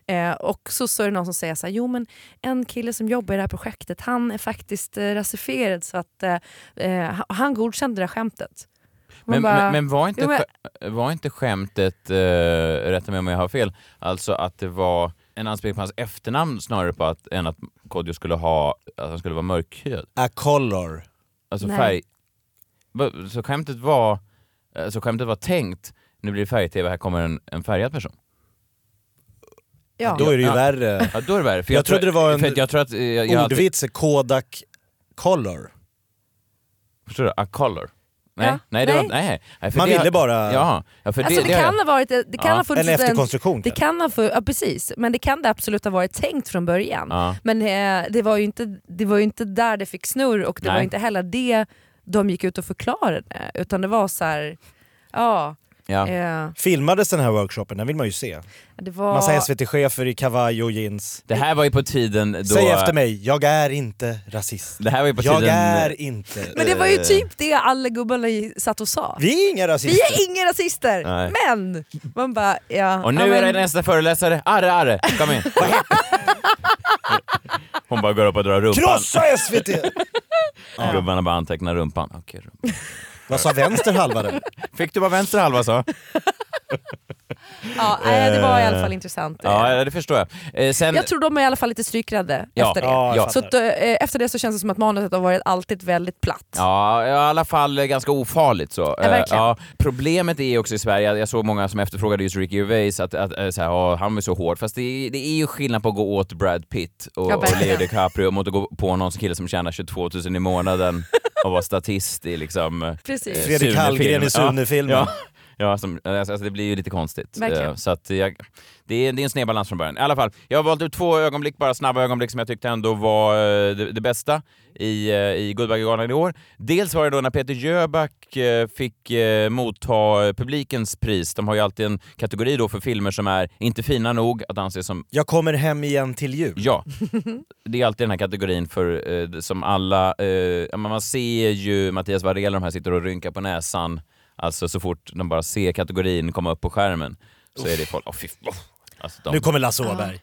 [SPEAKER 4] Eh, och så, så är det någon som säger så här, jo men en kille som jobbar i det här projektet han är faktiskt eh, rasifierad så att eh, eh, han godkände det här skämtet. Man
[SPEAKER 2] Men,
[SPEAKER 4] bara,
[SPEAKER 2] men, men var inte,
[SPEAKER 4] Jo, men-
[SPEAKER 2] skä- var inte skämtet, eh, rätta mig om jag har fel, alltså att det var en anspelning på hans efternamn snarare på att, än att Kodjo skulle ha, att han skulle vara mörkhyad?
[SPEAKER 3] Akolor.
[SPEAKER 2] Alltså
[SPEAKER 4] Nej.
[SPEAKER 2] färg... Va- Så skämtet var Alltså skämtet var tänkt, nu blir det färg-tv, här kommer en, en färgad person.
[SPEAKER 4] Ja.
[SPEAKER 3] Då är det ju
[SPEAKER 2] Ja.
[SPEAKER 3] värre.
[SPEAKER 2] Ja, då är det värre. För
[SPEAKER 3] Jag trodde
[SPEAKER 2] tror-
[SPEAKER 3] det var en
[SPEAKER 2] för att jag tror att, eh, jag, jag,
[SPEAKER 3] Ordvits är Kodak Color.
[SPEAKER 2] Förstår du? A color. Nej,
[SPEAKER 4] Ja,
[SPEAKER 2] nej, det
[SPEAKER 4] nej.
[SPEAKER 2] Var, nej. nej för
[SPEAKER 3] Man
[SPEAKER 2] det,
[SPEAKER 3] ville bara-
[SPEAKER 2] Ja, ja, för
[SPEAKER 4] Alltså det,
[SPEAKER 2] har jag-
[SPEAKER 4] kan ha varit, det kan
[SPEAKER 2] Ja.
[SPEAKER 4] ha funnits
[SPEAKER 3] En efterkonstruktion,
[SPEAKER 4] Det
[SPEAKER 3] kanske.
[SPEAKER 4] kan ha för, ja, precis, men det kan det absolut ha varit tänkt från början.
[SPEAKER 2] Ja.
[SPEAKER 4] Men eh, det, var ju inte, det var ju inte där det fick snurr och det
[SPEAKER 2] Nej.
[SPEAKER 4] var inte heller det de gick ut och förklarade. Utan det var så här, ja,
[SPEAKER 2] ja.
[SPEAKER 4] eh,
[SPEAKER 3] Filmades den här workshopen? Den vill man ju se.
[SPEAKER 4] det var...
[SPEAKER 3] Massa SVT-chefer i kavaj och jeans.
[SPEAKER 2] Det här var ju på tiden då...
[SPEAKER 3] Säg efter mig, jag är inte rasist.
[SPEAKER 2] Det här var ju på
[SPEAKER 3] jag
[SPEAKER 2] tiden...
[SPEAKER 3] är inte...
[SPEAKER 4] men det var
[SPEAKER 2] Eh.
[SPEAKER 4] ju typ det alla gubbarna i- satt och sa. Vi,
[SPEAKER 3] Vi är inga rasister.
[SPEAKER 4] är inga rasister,
[SPEAKER 2] Nej.
[SPEAKER 4] men man bara ja.
[SPEAKER 2] Och nu
[SPEAKER 4] ja, men,
[SPEAKER 2] är det nästa föreläsare, Arre Arre, kom in. Hon bara går upp och drar rumpan.
[SPEAKER 3] Krossa SVT!
[SPEAKER 2] Gubbarna bara antecknar rumpan. Okej, rumpan.
[SPEAKER 3] Vad sa vänster halva där?
[SPEAKER 2] Fick du bara vänster halva sa?
[SPEAKER 4] ja, nej, det var i alla fall intressant.
[SPEAKER 2] Eh. Ja, det förstår jag. Eh, sen,
[SPEAKER 4] Jag tror de är i alla fall lite strykrädda
[SPEAKER 2] Ja.
[SPEAKER 4] efter det.
[SPEAKER 3] Ja, jag
[SPEAKER 2] Ja.
[SPEAKER 4] Så
[SPEAKER 3] fattar.
[SPEAKER 4] att, eh, efter det så känns det som att manuset har varit alltid väldigt platt.
[SPEAKER 2] Ja, i alla fall ganska ofarligt så.
[SPEAKER 4] Ja, verkligen.
[SPEAKER 2] Eh, problemet är också i Sverige, jag såg många som efterfrågade just Ricky Gervais, att, att eh, så här, "Ja, han var så hård. Fast det, är- det är ju skillnad på att gå åt Brad Pitt och,
[SPEAKER 4] Ja,
[SPEAKER 2] och
[SPEAKER 4] verkligen.
[SPEAKER 2] Leo DiCaprio mot att gå på någon kille som tjänar 22 000 i månaden och vara statist i liksom... eh,
[SPEAKER 4] Precis.
[SPEAKER 2] eh,
[SPEAKER 3] Fredrik Hallgren i
[SPEAKER 2] Ja,
[SPEAKER 3] Sune-filmen.
[SPEAKER 2] Ja. Ja, som, alltså, alltså det blir ju lite konstigt.
[SPEAKER 4] Verkligen.
[SPEAKER 2] Eh, Så att jag, det, är, det är en sned balans från början. I alla fall, jag har valt ut två ögonblick, bara snabba ögonblick som jag tyckte ändå var eh, det, det bästa i, eh, i Guldbaggegalan i år. Dels var det då när Peter Jöback eh, fick eh, motta eh, publikens pris. De har ju alltid en kategori då för filmer som är inte fina nog att anses som
[SPEAKER 3] Jag kommer hem igen till jul.
[SPEAKER 2] Ja, det är alltid den här kategorin för, eh, som alla... Eh, ja, men man ser ju Mattias Varela de här sitter och rynkar på näsan alltså så fort de bara ser kategorin komma upp på skärmen så är det folk... Oh, fy, oh. Alltså, de,
[SPEAKER 3] Nu kommer Lasse Åberg.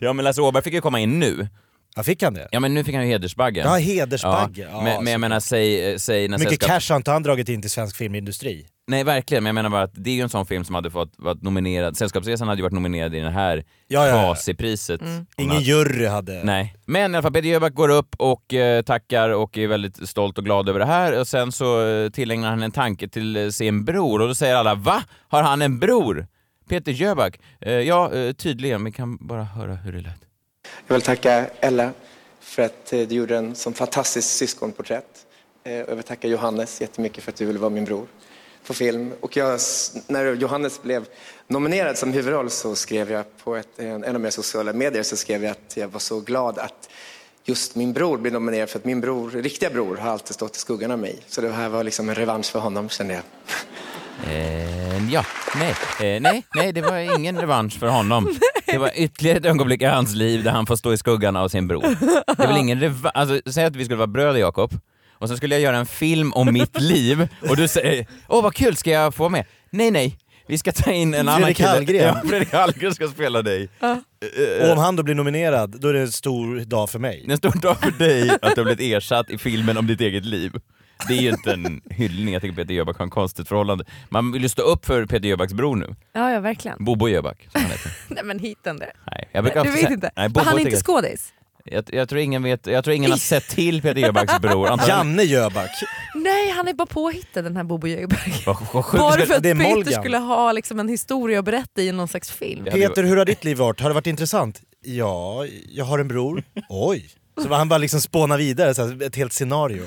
[SPEAKER 2] ja men Lasse Åberg fick ju komma in nu.
[SPEAKER 3] Ja, fick han det?
[SPEAKER 2] Ja men nu fick han ju hedersbaggen.
[SPEAKER 3] Ja, hedersbagge. Ja,
[SPEAKER 2] men, men jag menar, säg... eh, säg när
[SPEAKER 3] Mycket
[SPEAKER 2] sällskap-
[SPEAKER 3] cash har inte han dragit in till svensk filmindustri.
[SPEAKER 2] Nej verkligen, men jag menar bara att det är ju en sån film som hade fått varit nominerad. Sällskapsresan hade ju varit nominerad i det här
[SPEAKER 3] Ja, ja, ja. Mm.
[SPEAKER 2] priset
[SPEAKER 3] Ingen jury hade...
[SPEAKER 2] Nej. Men i alla fall, Peter Jöback går upp och eh, tackar och är väldigt stolt och glad över det här. Och sen så eh, tillägnar han en tanke till eh, sin bror och då säger alla Va? Har han en bror? Peter Jöback? Eh, ja, eh, tydligen. Vi kan bara höra hur det lät.
[SPEAKER 6] Jag vill tacka Ella för att eh, du gjorde en sån fantastisk syskonporträtt. Eh, och Jag vill tacka Johannes jättemycket för att du ville vara min bror på film. Och jag, s- när Johannes blev nominerad som huvudroll så skrev jag på ett, eh, en, en av mina sociala medier så skrev jag att jag var så glad att just min bror blev nominerad för att min bror, riktiga bror, har alltid stått i skuggan av mig. Så det här var liksom en revansch för honom kände jag.
[SPEAKER 2] Eh, ja, nej, eh, nej, nej, det var ingen revansch för honom. Det var ytterligare ett ögonblick i hans liv där han får stå i skuggan av sin bror. Det är väl ingen reva- alltså, säg att vi skulle vara bröder Jakob, och sen skulle jag göra en film om mitt liv och du säger åh vad kul, ska jag få vara med? Nej, nej, vi ska ta in en annan
[SPEAKER 3] Fredrik
[SPEAKER 2] kille.
[SPEAKER 3] Hallgren.
[SPEAKER 2] Ja, Fredrik Hallgren ska spela dig.
[SPEAKER 3] Och om han då blir nominerad, då är det en stor dag för mig.
[SPEAKER 2] Det är en stor dag för dig att du har blivit ersatt i filmen om ditt eget liv. Det är ju inte en hyllning, jag tycker Peter Jöback har ett konstigt förhållande. Man vill ju stå upp för Peter Jöbacks bror nu,
[SPEAKER 4] Ja, ja verkligen.
[SPEAKER 2] Bobo Jöback. som han heter.
[SPEAKER 4] Nej men hit den där.
[SPEAKER 2] Nej, jag brukar
[SPEAKER 4] Du
[SPEAKER 2] alltid
[SPEAKER 4] vet
[SPEAKER 2] säga-
[SPEAKER 4] inte.
[SPEAKER 2] Nej,
[SPEAKER 4] Men
[SPEAKER 2] Bobo
[SPEAKER 4] han är
[SPEAKER 2] tycker-
[SPEAKER 4] inte skådis?
[SPEAKER 2] jag, jag tror ingen vet, jag tror ingen har sett till Peter Jöbacks bror. Antagligen-
[SPEAKER 3] Janne Jöback.
[SPEAKER 4] Nej, han är bara påhittad den här Bobo Jöback.
[SPEAKER 2] Vad- vad sjukt.
[SPEAKER 4] Bara för att
[SPEAKER 3] det är
[SPEAKER 4] Peter
[SPEAKER 3] Molgan.
[SPEAKER 4] skulle ha liksom en historia att berätta i någon slags film.
[SPEAKER 2] Ja.
[SPEAKER 3] Peter, hur har ditt liv varit? Har det varit intressant? Ja, jag har en bror. Oj. Så han bara liksom spånar vidare, så här, ett helt scenario.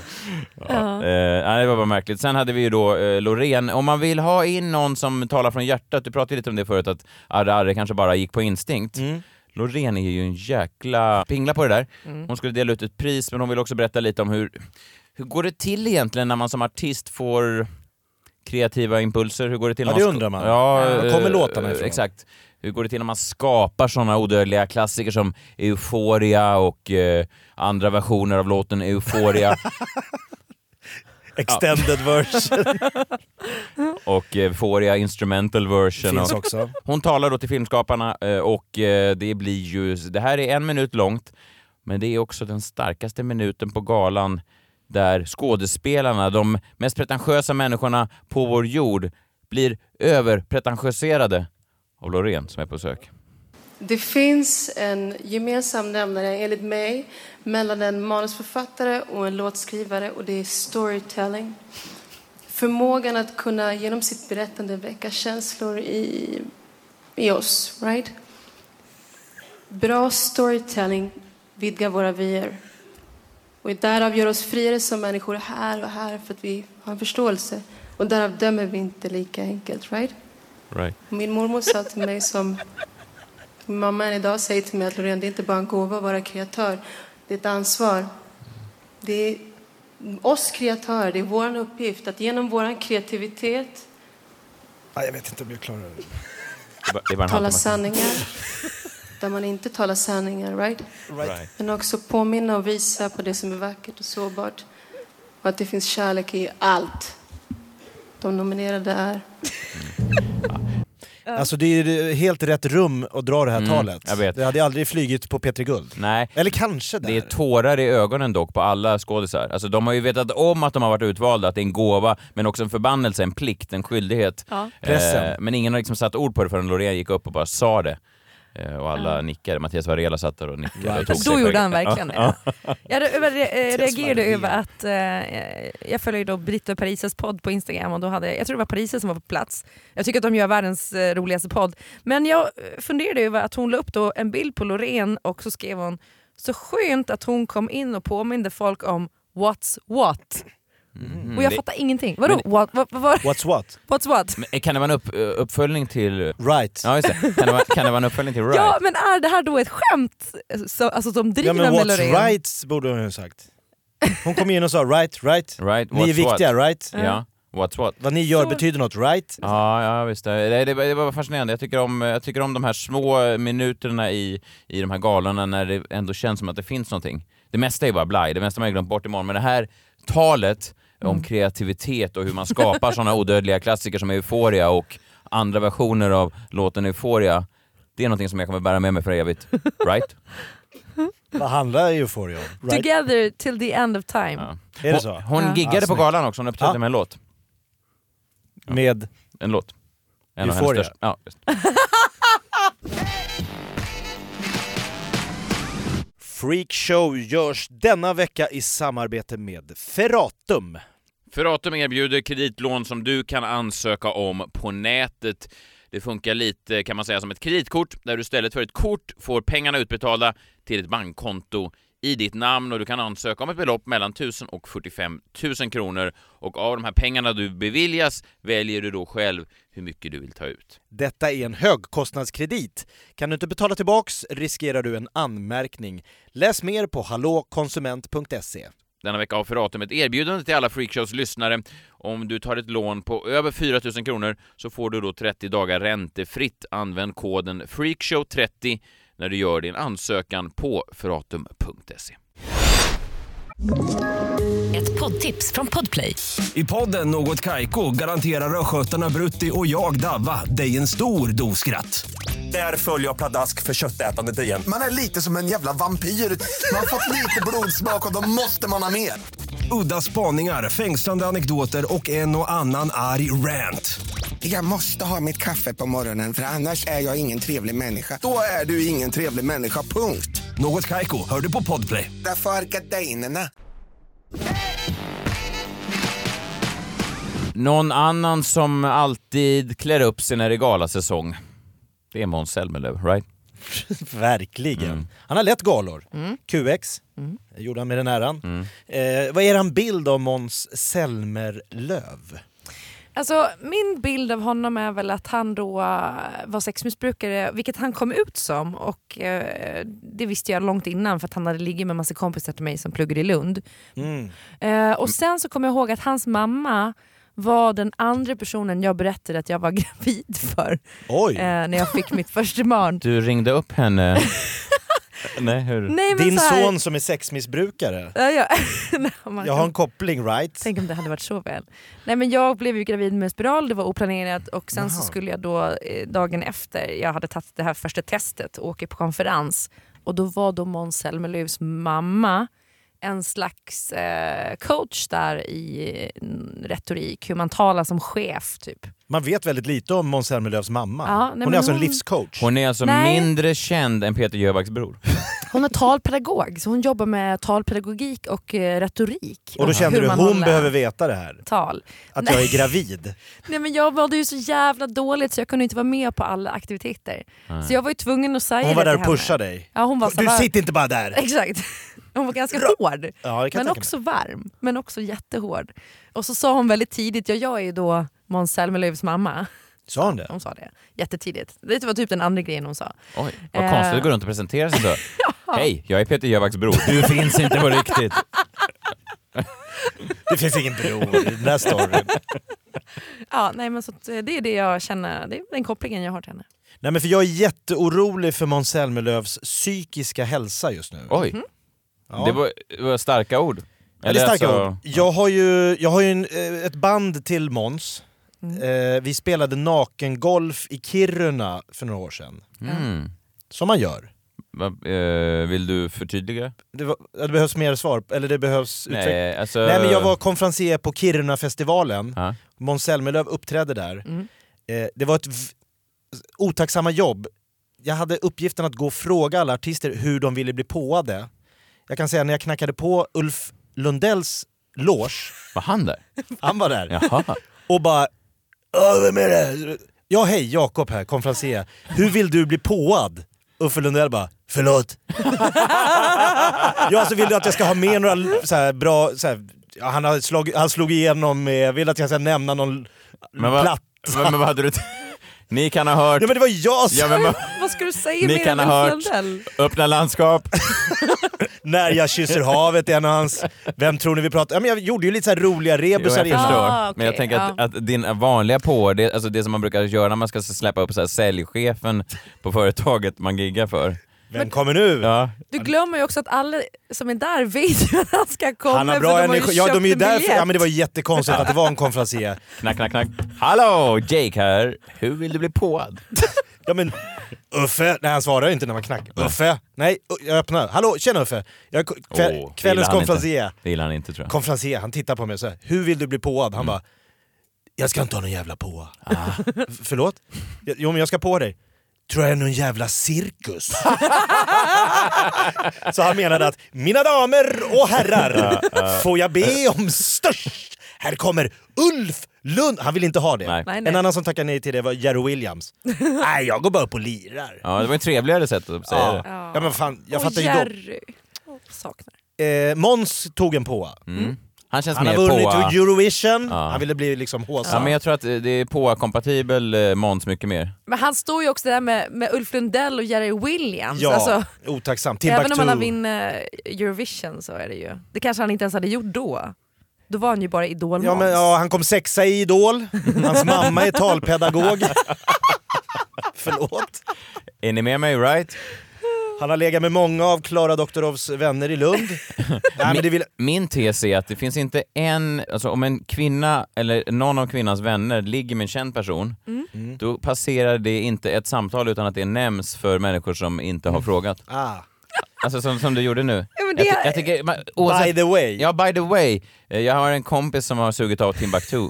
[SPEAKER 2] Eh, nej, det var bara märkligt. Sen hade vi ju då eh, Loreen. Om man vill ha in någon som talar från hjärtat, du pratade lite om det förut att Arre Arre kanske bara gick på instinkt. Loreen är ju en jäkla pingla på det där. Hon skulle dela ut ett pris men hon vill också berätta lite om hur, hur går det till egentligen när man som artist får kreativa impulser? Hur går det till
[SPEAKER 3] Ja,
[SPEAKER 2] när
[SPEAKER 3] det
[SPEAKER 2] sk-
[SPEAKER 3] undrar man.
[SPEAKER 2] Ja,
[SPEAKER 3] Var
[SPEAKER 2] eh,
[SPEAKER 3] kommer låtarna ifrån?
[SPEAKER 2] Exakt. Hur går det till när man skapar såna odödliga klassiker som Euphoria och eh, andra versioner av låten Euphoria?
[SPEAKER 3] Extended version
[SPEAKER 2] och eh, Euphoria instrumental version.
[SPEAKER 3] finns
[SPEAKER 2] Och-
[SPEAKER 3] också.
[SPEAKER 2] Hon talar då till filmskaparna eh, och eh, det blir ju, det här är en minut långt, men det är också den starkaste minuten på galan där skådespelarna, de mest pretentiösa människorna på vår jord, blir överpretentiöserade av Loreen som är på besök.
[SPEAKER 7] Det finns en gemensam nämnare, enligt mig, mellan en manusförfattare och en låtskrivare och det är storytelling. förmågan att kunna genom sitt berättande väcka känslor i, i oss. Right? Bra storytelling vidgar våra vyer. Och därav gör oss friare som människor här och här för att vi har en förståelse. Och därav dömer vi inte lika enkelt. Right?
[SPEAKER 2] Right.
[SPEAKER 7] Min mormor sa till mig som min mamma än idag säger till mig att Loreen, det är inte bara en gåva att vara kreatör. Det är ett ansvar. Det är oss kreatörer, det är vår uppgift att genom vår kreativitet
[SPEAKER 3] Nej, jag vet inte om jag klarar det.
[SPEAKER 2] Det var- det var en
[SPEAKER 7] tala
[SPEAKER 2] halvtimme.
[SPEAKER 7] sanningar där man inte talar sanningar, right?
[SPEAKER 2] Right.
[SPEAKER 7] Men också påminna och visa på det som är vackert och sårbart. Och att det finns kärlek i allt. De nominerade är
[SPEAKER 3] Alltså det är ju helt rätt rum att dra det här
[SPEAKER 2] Mm,
[SPEAKER 3] talet.
[SPEAKER 2] jag vet.
[SPEAKER 3] Det hade aldrig flygit på P3 Guld.
[SPEAKER 2] Nej,
[SPEAKER 3] Eller kanske där.
[SPEAKER 2] Det är tårar i ögonen dock på alla skådisar. Alltså de har ju vetat om att de har varit utvalda, att det är en gåva, men också en förbannelse, en plikt, en skyldighet. Eh,
[SPEAKER 4] Ja.
[SPEAKER 3] Pressen.
[SPEAKER 2] men ingen har liksom satt ord på det förrän Loreen gick upp och bara sa det. Eh, och alla nickade. Mattias Varela satt där och nickade. Och tog sig
[SPEAKER 4] Då
[SPEAKER 2] för-
[SPEAKER 4] gjorde han verkligen
[SPEAKER 2] Ja,
[SPEAKER 4] det. Jag re- över- eh, reagerade
[SPEAKER 3] Maria.
[SPEAKER 4] över att eh, jag följer ju då Britta och Parisas podd på Instagram och då hade, jag tror det var Parisa som var på plats. Jag tycker att de gör världens eh, roligaste podd. Men jag eh, funderade över att hon la upp då en bild på Loreen och så skrev hon så skönt att hon kom in och påminde folk om what's what. och jag
[SPEAKER 2] Mm. det-
[SPEAKER 4] fattar ingenting. Vadå what, vad, vad, vad,
[SPEAKER 3] What's what?
[SPEAKER 4] what's what?
[SPEAKER 2] Men Eh, Kan det vara en upp, uppföljning till...
[SPEAKER 3] Right.
[SPEAKER 2] Ja just det, kan det vara, kan det vara en uppföljning till Right?
[SPEAKER 4] Ja men är det här då ett skämt så, alltså, som driver
[SPEAKER 3] Ja, men
[SPEAKER 4] med
[SPEAKER 3] what's
[SPEAKER 4] Loreen?
[SPEAKER 3] right borde hon ju ha sagt. Hon kom in och sa right, right.
[SPEAKER 2] Right,
[SPEAKER 3] Ni är
[SPEAKER 2] what's
[SPEAKER 3] viktiga,
[SPEAKER 2] what?
[SPEAKER 3] right?
[SPEAKER 2] Ja. What's what?
[SPEAKER 3] Vad ni gör
[SPEAKER 4] Så-
[SPEAKER 3] betyder något, right?
[SPEAKER 2] Ja, ja visst. Det, det, det var- det var fascinerande. Jag tycker, om, jag tycker om de här små minuterna i, i de här galorna när det ändå känns som att det finns någonting. Det mesta är bara blaj, det mesta man har glömt bort imorgon. Men det här talet
[SPEAKER 3] Mm.
[SPEAKER 2] om kreativitet och hur man skapar sådana odödliga klassiker som Euphoria och andra versioner av låten Euphoria. Det är någonting som jag kommer bära med mig för evigt. Right?
[SPEAKER 3] Vad handlar Euphoria om? Right?
[SPEAKER 4] Together till the end of time.
[SPEAKER 2] Ja.
[SPEAKER 3] Är det
[SPEAKER 2] Hon-
[SPEAKER 3] så?
[SPEAKER 2] Hon
[SPEAKER 4] Ja.
[SPEAKER 2] giggade
[SPEAKER 3] Ah,
[SPEAKER 2] på
[SPEAKER 3] snyggt.
[SPEAKER 2] galan också, hon uppträdde
[SPEAKER 3] Ja.
[SPEAKER 2] med en låt.
[SPEAKER 3] Med...
[SPEAKER 2] En låt. En av hennes
[SPEAKER 3] Euphoria.
[SPEAKER 2] största- Ja, just.
[SPEAKER 3] Freak Show görs denna vecka i samarbete med Ferratum.
[SPEAKER 2] Ferratum erbjuder kreditlån som du kan ansöka om på nätet. Det funkar lite kan man säga som ett kreditkort där du istället för ett kort får pengarna utbetalda till ett bankkonto i ditt namn och du kan ansöka om ett belopp mellan 1000 och 45 000 kronor och av de här pengarna du beviljas väljer du då själv hur mycket du vill ta ut.
[SPEAKER 3] Detta är en högkostnadskredit. Kan du inte betala tillbaks riskerar du en anmärkning. Läs mer på hallåkonsument.se.
[SPEAKER 2] Denna vecka har Ferratum ett erbjudande till alla Freakshows lyssnare. Om du tar ett lån på över 4 000 kronor så får du då 30 dagar räntefritt. Använd koden FREAKSHOW30 när du gör din ansökan på ferratum.se.
[SPEAKER 8] Ett poddtips från Podplay.
[SPEAKER 9] I podden Något Kaiko garanterar östgötarna Brutti och jag, Davva, dig en stor dos skratt. Där följer jag pladask för köttätandet igen.
[SPEAKER 10] Man är lite som en jävla vampyr. Man har fått lite blodsmak och då måste man ha mer.
[SPEAKER 9] Udda spaningar, fängslande anekdoter och en och annan arg rant.
[SPEAKER 10] Jag måste ha mitt kaffe på morgonen för annars är jag ingen trevlig människa. Då är du ingen trevlig människa, punkt.
[SPEAKER 9] Något Kaiko, hör du på Podplay.
[SPEAKER 10] Därför är gardinerna.
[SPEAKER 2] Någon annan som alltid klär upp sig när det är galasäsong. Det är Måns Zelmerlöw, right?
[SPEAKER 3] Verkligen. Han har lett galor.
[SPEAKER 4] Mm.
[SPEAKER 3] QX gjorde han med den äran. Eh, vad är han bild av Måns Zelmerlöw?
[SPEAKER 4] Alltså, min bild av honom är väl att han då eh, var sexmissbrukare, vilket han kom ut som. Och eh, Det visste jag långt innan för att han hade ligget med massa kompisar till mig som pluggade i Lund.
[SPEAKER 3] Mm.
[SPEAKER 4] Eh, och Sen så kommer jag ihåg att hans mamma var den andra personen jag berättade att jag var gravid för
[SPEAKER 3] Oj!
[SPEAKER 4] eh, när jag fick mitt första barn.
[SPEAKER 2] Du ringde upp henne... Nej, hur?
[SPEAKER 4] Nej, men
[SPEAKER 3] Din
[SPEAKER 4] så här-
[SPEAKER 3] son som är sexmissbrukare.
[SPEAKER 4] Ja, ja. Nej, man
[SPEAKER 3] Jag har en koppling right?
[SPEAKER 4] Tänk om det hade varit så väl. Nej men jag blev ju gravid med spiral, det var oplanerat och sen så
[SPEAKER 3] Jaha.
[SPEAKER 4] skulle jag då eh, dagen efter jag hade tagit det här första testet och åker på konferens och då var då Måns Zelmerlöws mamma en slags eh, coach där i mm, retorik, hur man talar som chef typ.
[SPEAKER 3] Man vet väldigt lite om Måns Zelmerlöws mamma.
[SPEAKER 4] Ja, nej,
[SPEAKER 3] hon
[SPEAKER 4] men
[SPEAKER 3] är alltså en
[SPEAKER 4] hon-
[SPEAKER 3] livscoach.
[SPEAKER 2] Hon är alltså
[SPEAKER 4] Nej.
[SPEAKER 2] mindre känd än Peter Jöbacks bror.
[SPEAKER 4] Hon är talpedagog, så hon jobbar med talpedagogik och eh, retorik.
[SPEAKER 3] Och då kände
[SPEAKER 4] Hur
[SPEAKER 3] du,
[SPEAKER 4] man
[SPEAKER 3] hon
[SPEAKER 4] håller
[SPEAKER 3] behöver veta det här.
[SPEAKER 4] Tal.
[SPEAKER 3] Att
[SPEAKER 4] Nej.
[SPEAKER 3] jag är gravid.
[SPEAKER 4] Nej men jag mådde ju så jävla dåligt så jag kunde inte vara med på alla aktiviteter. Så jag var ju tvungen att säga
[SPEAKER 3] Hon var
[SPEAKER 4] det
[SPEAKER 3] där
[SPEAKER 4] till
[SPEAKER 3] och
[SPEAKER 4] henne.
[SPEAKER 3] pushade dig.
[SPEAKER 4] Ja, hon var så
[SPEAKER 3] Du
[SPEAKER 4] här-
[SPEAKER 3] sitter inte bara där.
[SPEAKER 4] Exakt. Hon var ganska
[SPEAKER 3] Ja,
[SPEAKER 4] hård.
[SPEAKER 3] det kan jag
[SPEAKER 4] Men
[SPEAKER 3] tänka
[SPEAKER 4] också varm. Men också jättehård. Och så sa hon väldigt tidigt, ja, jag är ju då Måns Zelmerlöws mamma.
[SPEAKER 3] Sa hon det?
[SPEAKER 4] Hon sa det jättetidigt. Det var typ den andra grejen hon sa.
[SPEAKER 2] Oj, vad
[SPEAKER 4] Eh.
[SPEAKER 2] konstigt att gå runt och presentera sig så. Hej, jag är Peter Jöbacks bror. Du finns inte på riktigt.
[SPEAKER 3] Det finns ingen bro i den här storyn.
[SPEAKER 4] Ja, nej, men så att, eh, det är det jag känner, det är den kopplingen jag har till henne.
[SPEAKER 3] Nej men för jag är jätteorolig för Måns Zelmerlöws psykiska hälsa just nu.
[SPEAKER 2] Oj,
[SPEAKER 3] Ja.
[SPEAKER 2] det var, det var starka ord.
[SPEAKER 3] Ja, det är
[SPEAKER 2] Eller
[SPEAKER 3] starka
[SPEAKER 2] alltså-
[SPEAKER 3] ord. Jag har ju, jag har ju en, eh, ett band till Måns.
[SPEAKER 4] Mm.
[SPEAKER 3] Eh, vi spelade nakengolf i Kiruna för några år sedan.
[SPEAKER 2] Mm.
[SPEAKER 3] Som man gör.
[SPEAKER 2] Vad, eh, vill du förtydliga?
[SPEAKER 3] Det, var, det behövs mer svar, eller det behövs utveckling. Nej.
[SPEAKER 2] Nej, alltså...
[SPEAKER 3] men jag var konferencier på Kirunafestivalen.
[SPEAKER 2] Ja.
[SPEAKER 3] Måns Zelmerlöw uppträdde där.
[SPEAKER 4] Mm.
[SPEAKER 3] Eh, det var ett v- otacksamma jobb. Jag hade uppgiften att gå och fråga alla artister hur de ville bli påade. Jag kan säga när jag knackade på Ulf Lundells loge,
[SPEAKER 2] Var han där?
[SPEAKER 3] han var där.
[SPEAKER 2] Jaha.
[SPEAKER 3] och bara "Ja, Vem är det? Ja hej, Jakob här, konferencier. Hur vill du bli påad? Uffe Lundell bara Förlåt? ja alltså vill du att jag ska ha med några så här, bra... Så här, ja, han, har slag, han slog igenom med, vill att jag ska nämna någon
[SPEAKER 2] Men vad,
[SPEAKER 3] platt...
[SPEAKER 2] men, men vad hade du... t- Ni kan ha hört...
[SPEAKER 3] Ja men det var jag som,
[SPEAKER 2] Ja, men, vad-
[SPEAKER 4] Vad ska du säga
[SPEAKER 2] ni
[SPEAKER 4] mer
[SPEAKER 2] kan
[SPEAKER 4] än
[SPEAKER 2] ha
[SPEAKER 4] Ulf
[SPEAKER 2] hört
[SPEAKER 4] Lundell?
[SPEAKER 2] öppna landskap.
[SPEAKER 3] När jag kysser havet, en av hans... Vem tror ni vi pratar... Ja, men jag gjorde ju lite så här roliga
[SPEAKER 2] Jo,
[SPEAKER 3] rebusar
[SPEAKER 2] jag
[SPEAKER 3] innan.
[SPEAKER 2] förstår.
[SPEAKER 4] Ah, okej,
[SPEAKER 2] Men jag tänker att,
[SPEAKER 4] ja.
[SPEAKER 2] att din vanliga på, det, alltså det som man brukar göra när man ska släppa upp så här, säljchefen på företaget man giggar för.
[SPEAKER 3] Vem kommer nu?
[SPEAKER 2] Ja.
[SPEAKER 4] Du glömmer ju också att alla som är där vet ju att han ska komma.
[SPEAKER 3] Han har
[SPEAKER 4] för
[SPEAKER 3] bra
[SPEAKER 4] de har ju
[SPEAKER 3] energi. Ja,
[SPEAKER 4] köpt
[SPEAKER 3] de är ju
[SPEAKER 4] en
[SPEAKER 3] där för,
[SPEAKER 4] biljett.
[SPEAKER 3] ja, men det var jättekonstigt att det var en konferencier.
[SPEAKER 2] Knack, knack, knack. Hallå! Jake här. Hur vill du bli påad?
[SPEAKER 3] Ja men Uffe, nej han svarar ju inte när man knackar. Uffe, nej u- jag öppnar. Hallå, tjena Uffe. Jag är ko- kväll,
[SPEAKER 2] Åh, det
[SPEAKER 3] kvällens
[SPEAKER 2] gillar han inte.
[SPEAKER 3] konferencier.
[SPEAKER 2] Det gillar han inte tror jag.
[SPEAKER 3] Konferencier, han tittar på mig och säger hur vill du bli påad?
[SPEAKER 2] Mm.
[SPEAKER 3] Han bara, jag ska inte ha någon jävla påa.
[SPEAKER 2] Ah.
[SPEAKER 3] F- Förlåt? "Ja, Jo men jag ska på dig. Tror jag är någon jävla cirkus? Så han menade att, mina damer och herrar, får jag be om störst? Här kommer Ulf Lund... Han vill inte ha det.
[SPEAKER 2] Nej.
[SPEAKER 4] Nej, nej.
[SPEAKER 3] En annan som tackade nej till det var Jerry Williams. Nej, jag går bara upp och lirar.
[SPEAKER 2] Ja, det var ett trevligare sätt att säga
[SPEAKER 3] Ja.
[SPEAKER 2] det.
[SPEAKER 4] Ja.
[SPEAKER 3] ja men fan, jag
[SPEAKER 4] Och
[SPEAKER 3] fattar ju då.
[SPEAKER 4] Jerry. Åh, Saknar.
[SPEAKER 3] Eh, Måns tog en påa.
[SPEAKER 2] Han känns
[SPEAKER 3] Han har
[SPEAKER 2] mer
[SPEAKER 3] vunnit
[SPEAKER 2] påa.
[SPEAKER 3] Eurovision,
[SPEAKER 2] äh, Ja.
[SPEAKER 3] han ville bli liksom håsad.
[SPEAKER 2] Ja, men jag tror att eh, det är påa-kompatibel eh, Måns mycket mer.
[SPEAKER 4] Men han står ju också där med, med Ulf Lundell och Jerry Williams.
[SPEAKER 3] Ja,
[SPEAKER 4] Alltså,
[SPEAKER 3] otacksam.
[SPEAKER 4] även om
[SPEAKER 3] Timbuktu.
[SPEAKER 4] han har vinner Eurovision så är det ju. Det kanske han inte ens hade gjort då. Då var han ju bara idol
[SPEAKER 3] Ja, men, ja, han kom sexa i Idol, hans mamma är talpedagog. Förlåt.
[SPEAKER 2] Är ni med mig right?
[SPEAKER 3] Han har legat med många av Klara Doktorovs vänner i Lund. Nej, men det vill...
[SPEAKER 2] Min tes är att det finns inte en, alltså om en kvinna eller någon av kvinnans vänner ligger med en känd person,
[SPEAKER 3] Mm.
[SPEAKER 2] då passerar det inte ett samtal utan att det nämns för människor som inte har frågat.
[SPEAKER 3] ah.
[SPEAKER 2] Alltså som, som du gjorde nu.
[SPEAKER 4] Ja, men det-
[SPEAKER 2] jag, ty- jag tycker, man, oavsett,
[SPEAKER 3] By the way.
[SPEAKER 2] Ja, by the way. Eh, Jag har en kompis som har sugit av Timbuktu.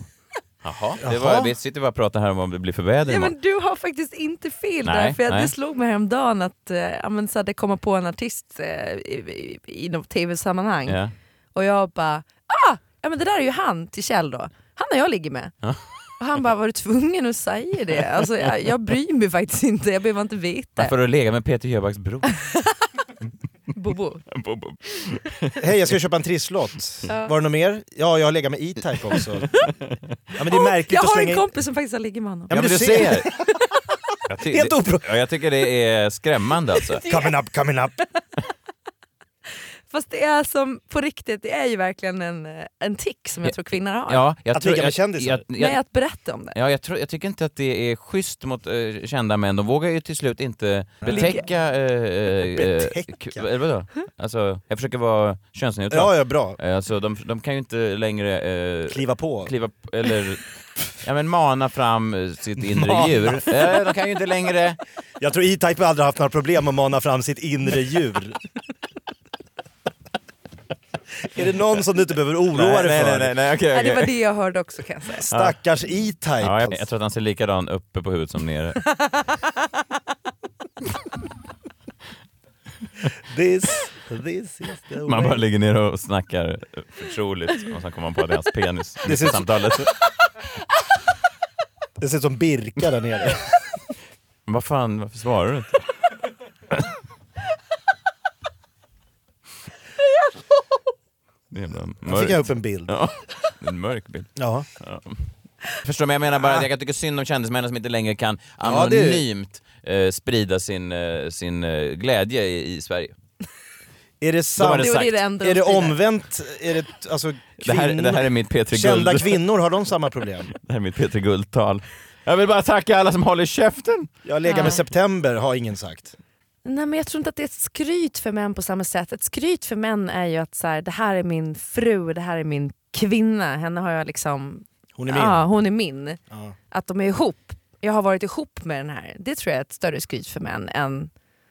[SPEAKER 2] Jaha, det var,
[SPEAKER 3] Jaha.
[SPEAKER 2] vi sitter bara och pratar här om vad det blir för väder
[SPEAKER 4] Ja,
[SPEAKER 2] imorgon.
[SPEAKER 4] men du har faktiskt inte fel där.
[SPEAKER 2] Nej,
[SPEAKER 4] För jag,
[SPEAKER 2] nej.
[SPEAKER 4] det slog mig häromdagen att eh, ja, men så hade jag kommit på en artist eh, i, i, i något tv-sammanhang.
[SPEAKER 2] Ja.
[SPEAKER 4] Och jag bara, ah! Ja men det där är ju han till Kjell då. Han är jag ligger med. Och han bara, var du tvungen att säga det? Alltså, jag, jag bryr mig faktiskt inte, jag behöver inte veta.
[SPEAKER 2] Varför har du legat med Peter Jöbacks bror?
[SPEAKER 4] Bobo.
[SPEAKER 3] Hej, jag ska köpa en trisslott. Var det något mer? Ja, jag har legat med E-Type också. Ja, men det är märkligt
[SPEAKER 4] Jag
[SPEAKER 3] att
[SPEAKER 4] har
[SPEAKER 3] slänga
[SPEAKER 4] en
[SPEAKER 3] in...
[SPEAKER 4] kompis som faktiskt har ligger med honom.
[SPEAKER 3] Ja, men du ser.
[SPEAKER 2] Jag ty-
[SPEAKER 3] Helt opro-
[SPEAKER 2] det, ja, jag tycker det är skrämmande alltså.
[SPEAKER 3] Coming up, coming up.
[SPEAKER 4] Fast det är som, på riktigt, det är ju verkligen en, eh, en tick som jag tror kvinnor har.
[SPEAKER 2] Ja, jag
[SPEAKER 3] Att
[SPEAKER 2] tror,
[SPEAKER 3] ligga med
[SPEAKER 2] jag-
[SPEAKER 3] kändisar.
[SPEAKER 2] jag- jag-
[SPEAKER 4] Med att berätta om det.
[SPEAKER 2] Ja, jag, tror, jag tycker inte att det är schysst mot eh, kända män. De vågar ju till slut inte betäcka... eh, eh,
[SPEAKER 3] Betäcka?
[SPEAKER 2] k- Eller vadå? Alltså, jag försöker vara könsneutral.
[SPEAKER 3] Ja, ja, bra.
[SPEAKER 2] Eh, Alltså, de, de kan ju inte längre eh,
[SPEAKER 3] Kliva på.
[SPEAKER 2] kliva p- eller ja, men mana fram eh, sitt inre
[SPEAKER 3] Mana.
[SPEAKER 2] djur. Eh, de kan ju inte längre...
[SPEAKER 3] Jag tror E-Type har aldrig haft några problem att mana fram sitt inre djur. Är det någon som du inte behöver oroa dig för?
[SPEAKER 2] nej, okej,
[SPEAKER 4] Ja, det
[SPEAKER 2] okej.
[SPEAKER 4] var det jag hörde också kan jag säga.
[SPEAKER 3] Stackars E-Type.
[SPEAKER 2] Ja, jag, jag tror att han ser likadan uppe på huvudet som nere.
[SPEAKER 3] This, this is the way.
[SPEAKER 2] Man bara ligger ner och snackar eh, förtroligt och sen kommer man på att det är hans penis
[SPEAKER 3] Det
[SPEAKER 2] i
[SPEAKER 3] ser ut-
[SPEAKER 2] samtalet.
[SPEAKER 3] Det ser ut som Birka där nere.
[SPEAKER 2] Men vad fan, varför svarar du inte? Det är jävla
[SPEAKER 3] Nu fick jag upp
[SPEAKER 2] mörkt.
[SPEAKER 3] en bild.
[SPEAKER 2] Ja, det är en mörk bild.
[SPEAKER 3] Ja.
[SPEAKER 2] Förstår du? Men Jag menar bara att jag kan tycka synd om kändismännen som inte längre kan
[SPEAKER 3] Ja, det-
[SPEAKER 2] anonymt eh, sprida sin, eh, sin eh, glädje i, i Sverige.
[SPEAKER 3] Är det
[SPEAKER 2] var
[SPEAKER 3] sant?
[SPEAKER 2] det
[SPEAKER 4] Det var
[SPEAKER 2] sagt.
[SPEAKER 4] det enda de
[SPEAKER 3] är det
[SPEAKER 4] styrde.
[SPEAKER 3] omvänt? Är det, alltså,
[SPEAKER 2] Det här, det här är mitt P3
[SPEAKER 3] Kända
[SPEAKER 2] Guld.
[SPEAKER 3] kvinnor, har de samma problem?
[SPEAKER 2] Det här är mitt P3 Guld-tal. Jag vill bara tacka alla som håller käften.
[SPEAKER 3] Jag lägger
[SPEAKER 4] Ja.
[SPEAKER 3] med September, har ingen sagt.
[SPEAKER 4] Nej, men jag tror inte att det är ett skryt för män på samma sätt. Ett skryt för män är ju att så här, det här är min fru, det här är min kvinna. Henne har jag liksom...
[SPEAKER 3] Hon är min.
[SPEAKER 4] Ja, hon är min.
[SPEAKER 3] Ja.
[SPEAKER 4] Att de är ihop. Jag har varit ihop med den här. Det tror jag är ett större skryt för män än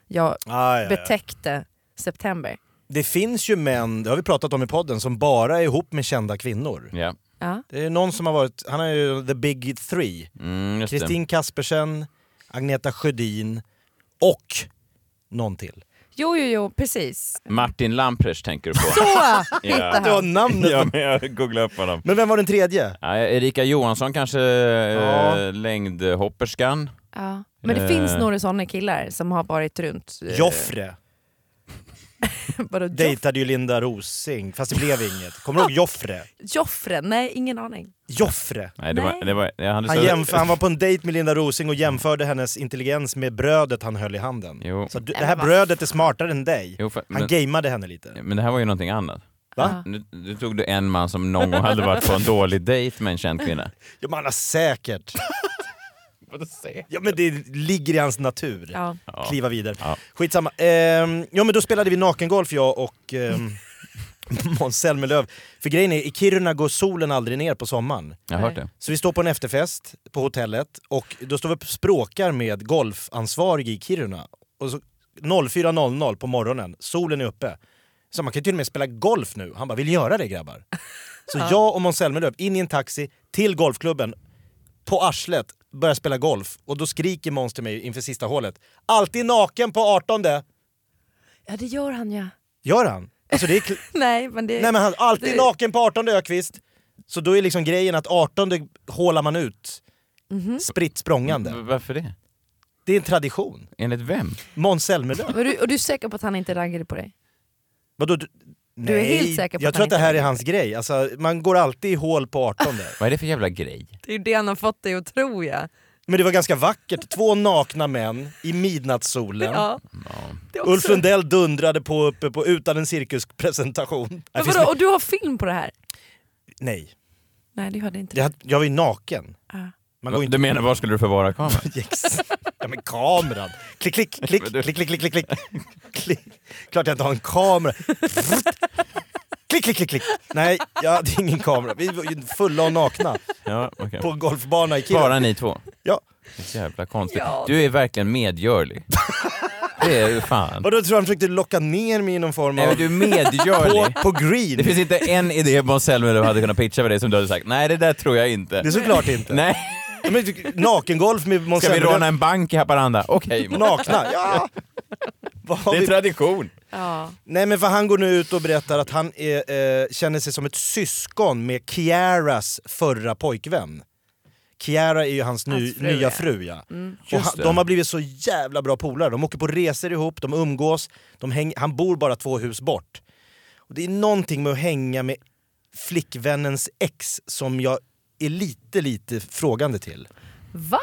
[SPEAKER 4] jag
[SPEAKER 3] Ah, ja, ja.
[SPEAKER 4] betäckte September.
[SPEAKER 3] Det finns ju män, det har vi pratat om i podden, som bara är ihop med kända kvinnor.
[SPEAKER 2] Ja,
[SPEAKER 4] Ja.
[SPEAKER 3] Det är någon som har varit, han är ju the big three.
[SPEAKER 2] mm, just det.
[SPEAKER 3] Kristin Kaspersen, Agneta Sjödin och någon till.
[SPEAKER 4] Jo, jo, jo, precis.
[SPEAKER 2] Martin Lamprecht tänker du på.
[SPEAKER 4] Så!
[SPEAKER 2] ja.
[SPEAKER 3] Det var namnet.
[SPEAKER 2] ja, men jag googlade upp honom.
[SPEAKER 3] Men vem var den tredje?
[SPEAKER 2] Ja, Erika Johansson kanske,
[SPEAKER 3] Ja.
[SPEAKER 2] eh, längdhopperskan.
[SPEAKER 4] Ja. Men det
[SPEAKER 2] Eh.
[SPEAKER 4] finns några sådana killar som har varit runt... eh,
[SPEAKER 3] Joffre
[SPEAKER 4] vadå, Joff-
[SPEAKER 3] dejtade ju Linda Rosing, fast det blev inget. Kommer du ihåg Joffre?
[SPEAKER 4] Joffre? Nej, ingen aning.
[SPEAKER 3] Joffre!
[SPEAKER 2] Nej, det var,
[SPEAKER 4] Nej.
[SPEAKER 2] det var, jag hade
[SPEAKER 3] Han,
[SPEAKER 2] så-
[SPEAKER 3] jämf- han var på en dejt med Linda Rosing och jämförde hennes intelligens med brödet han höll i handen.
[SPEAKER 2] Jo.
[SPEAKER 3] Så du,
[SPEAKER 4] Nej,
[SPEAKER 3] det här
[SPEAKER 4] men vad-
[SPEAKER 3] brödet är smartare än dig.
[SPEAKER 2] Jo, för,
[SPEAKER 3] Han
[SPEAKER 2] men,
[SPEAKER 3] gameade henne lite.
[SPEAKER 2] men det här var ju någonting annat.
[SPEAKER 3] Va?
[SPEAKER 2] Nu, nu tog du en man som någon gång hade varit på en dålig dejt med en känd kvinna.
[SPEAKER 3] Ja, men han har säkert... Ja men det ligger i hans natur.
[SPEAKER 4] Ja.
[SPEAKER 3] Kliva vidare.
[SPEAKER 2] Ja.
[SPEAKER 3] Skitsamma. Ehm, ja men då spelade vi nakengolf jag och ehm, Måns Zelmerlöw. För grejen är, i Kiruna går solen aldrig ner på sommaren.
[SPEAKER 2] Jag har hört det.
[SPEAKER 3] Så vi står på en efterfest på hotellet och då står vi och språkar med golfansvarig i Kiruna. Och så 04.00 på morgonen, solen är uppe. Så man kan ju till och med spela golf nu. Han bara, vill ni göra det grabbar? Så jag och Måns Zelmerlöw in i en taxi till golfklubben, på arslet, börjar spela golf. Och då skriker Måns till mig inför sista hålet, alltid naken på 18
[SPEAKER 4] Ja, det gör han ja.
[SPEAKER 3] Gör han? Alltså det är kl-
[SPEAKER 4] Nej, men det...
[SPEAKER 3] Nej men han, alltid
[SPEAKER 4] Det-
[SPEAKER 3] naken på 18 Ökvist. Så då är liksom grejen att 18 hålar man ut
[SPEAKER 4] Mhm.
[SPEAKER 3] spritt
[SPEAKER 2] V-
[SPEAKER 3] språngande.
[SPEAKER 2] Varför det?
[SPEAKER 3] Det är en tradition.
[SPEAKER 2] Enligt vem?
[SPEAKER 3] Måns Zelmerlöw.
[SPEAKER 4] Men du, och du är säker på att han inte raggade på dig?
[SPEAKER 3] Vadå? Du,
[SPEAKER 4] Du är helt säker på
[SPEAKER 3] Jag
[SPEAKER 4] att
[SPEAKER 3] tror
[SPEAKER 4] han
[SPEAKER 3] att det här
[SPEAKER 4] inte-
[SPEAKER 3] är hans grej. Alltså, man går alltid i hål på 18 där.
[SPEAKER 2] Vad är det för jävla grej?
[SPEAKER 4] Det är ju det han har fått dig att tro ja.
[SPEAKER 3] Men det var ganska vackert. Två nakna män i midnattssolen.
[SPEAKER 4] ja. Det är också-
[SPEAKER 3] Ulf Lundell dundrade på uppe på utan en cirkuspresentation. Nej,
[SPEAKER 4] Men
[SPEAKER 3] finns
[SPEAKER 4] vadå,
[SPEAKER 3] det-
[SPEAKER 4] och du har film på det här?
[SPEAKER 3] Nej.
[SPEAKER 4] Nej, det hade inte.
[SPEAKER 3] Jag, jag var ju naken.
[SPEAKER 4] Ja.
[SPEAKER 3] Man går inte...
[SPEAKER 2] Du menar, var skulle du förvara kameran?
[SPEAKER 3] Yes. Ja men kameran! Klick, klick, klick,
[SPEAKER 2] Men du-
[SPEAKER 3] klick, klick, klick, klick, klick. klick. Klart jag inte har en kamera. klick, klick, klick, klick. Nej, jag hade ingen kamera. Vi var ju fulla och nakna
[SPEAKER 2] Ja, okej.
[SPEAKER 3] på en golfbana i Kiruna.
[SPEAKER 2] Bara ni två?
[SPEAKER 3] Ja.
[SPEAKER 2] Så jävla konstigt.
[SPEAKER 4] Ja.
[SPEAKER 2] Du är verkligen medgörlig. Det är du fan.
[SPEAKER 3] Och då tror jag han försökte locka ner mig i någon form
[SPEAKER 2] Nej, men
[SPEAKER 3] av...
[SPEAKER 2] du är medgörlig.
[SPEAKER 3] På, på green.
[SPEAKER 2] Det
[SPEAKER 3] Det,
[SPEAKER 2] finns inte en idé Måns Zelmerlöw hade kunnat pitcha för dig som du hade sagt nej det där tror jag inte.
[SPEAKER 3] är såklart inte.
[SPEAKER 2] Nej,
[SPEAKER 3] Men, nakengolf med Måns
[SPEAKER 2] ska vi
[SPEAKER 3] Zelmerlöw.
[SPEAKER 2] råna en bank i Haparanda? Okej, Måns.
[SPEAKER 3] Nakna, ja! Vad har
[SPEAKER 2] det är
[SPEAKER 3] vi-
[SPEAKER 2] tradition.
[SPEAKER 4] Ja.
[SPEAKER 3] Nej men för han går nu ut och berättar att han är, eh, känner sig som ett syskon med Kiaras förra pojkvän. Kiara är ju hans, ny,
[SPEAKER 4] Hans fru,
[SPEAKER 3] nya
[SPEAKER 4] ja.
[SPEAKER 3] fru ja. Och
[SPEAKER 2] Just
[SPEAKER 3] han,
[SPEAKER 2] det.
[SPEAKER 3] de har blivit så jävla bra polare. De åker på resor ihop, de umgås, de häng, han bor bara två hus bort. Och det är någonting med att hänga med flickvännens ex som jag är lite, lite frågande till.
[SPEAKER 4] Va?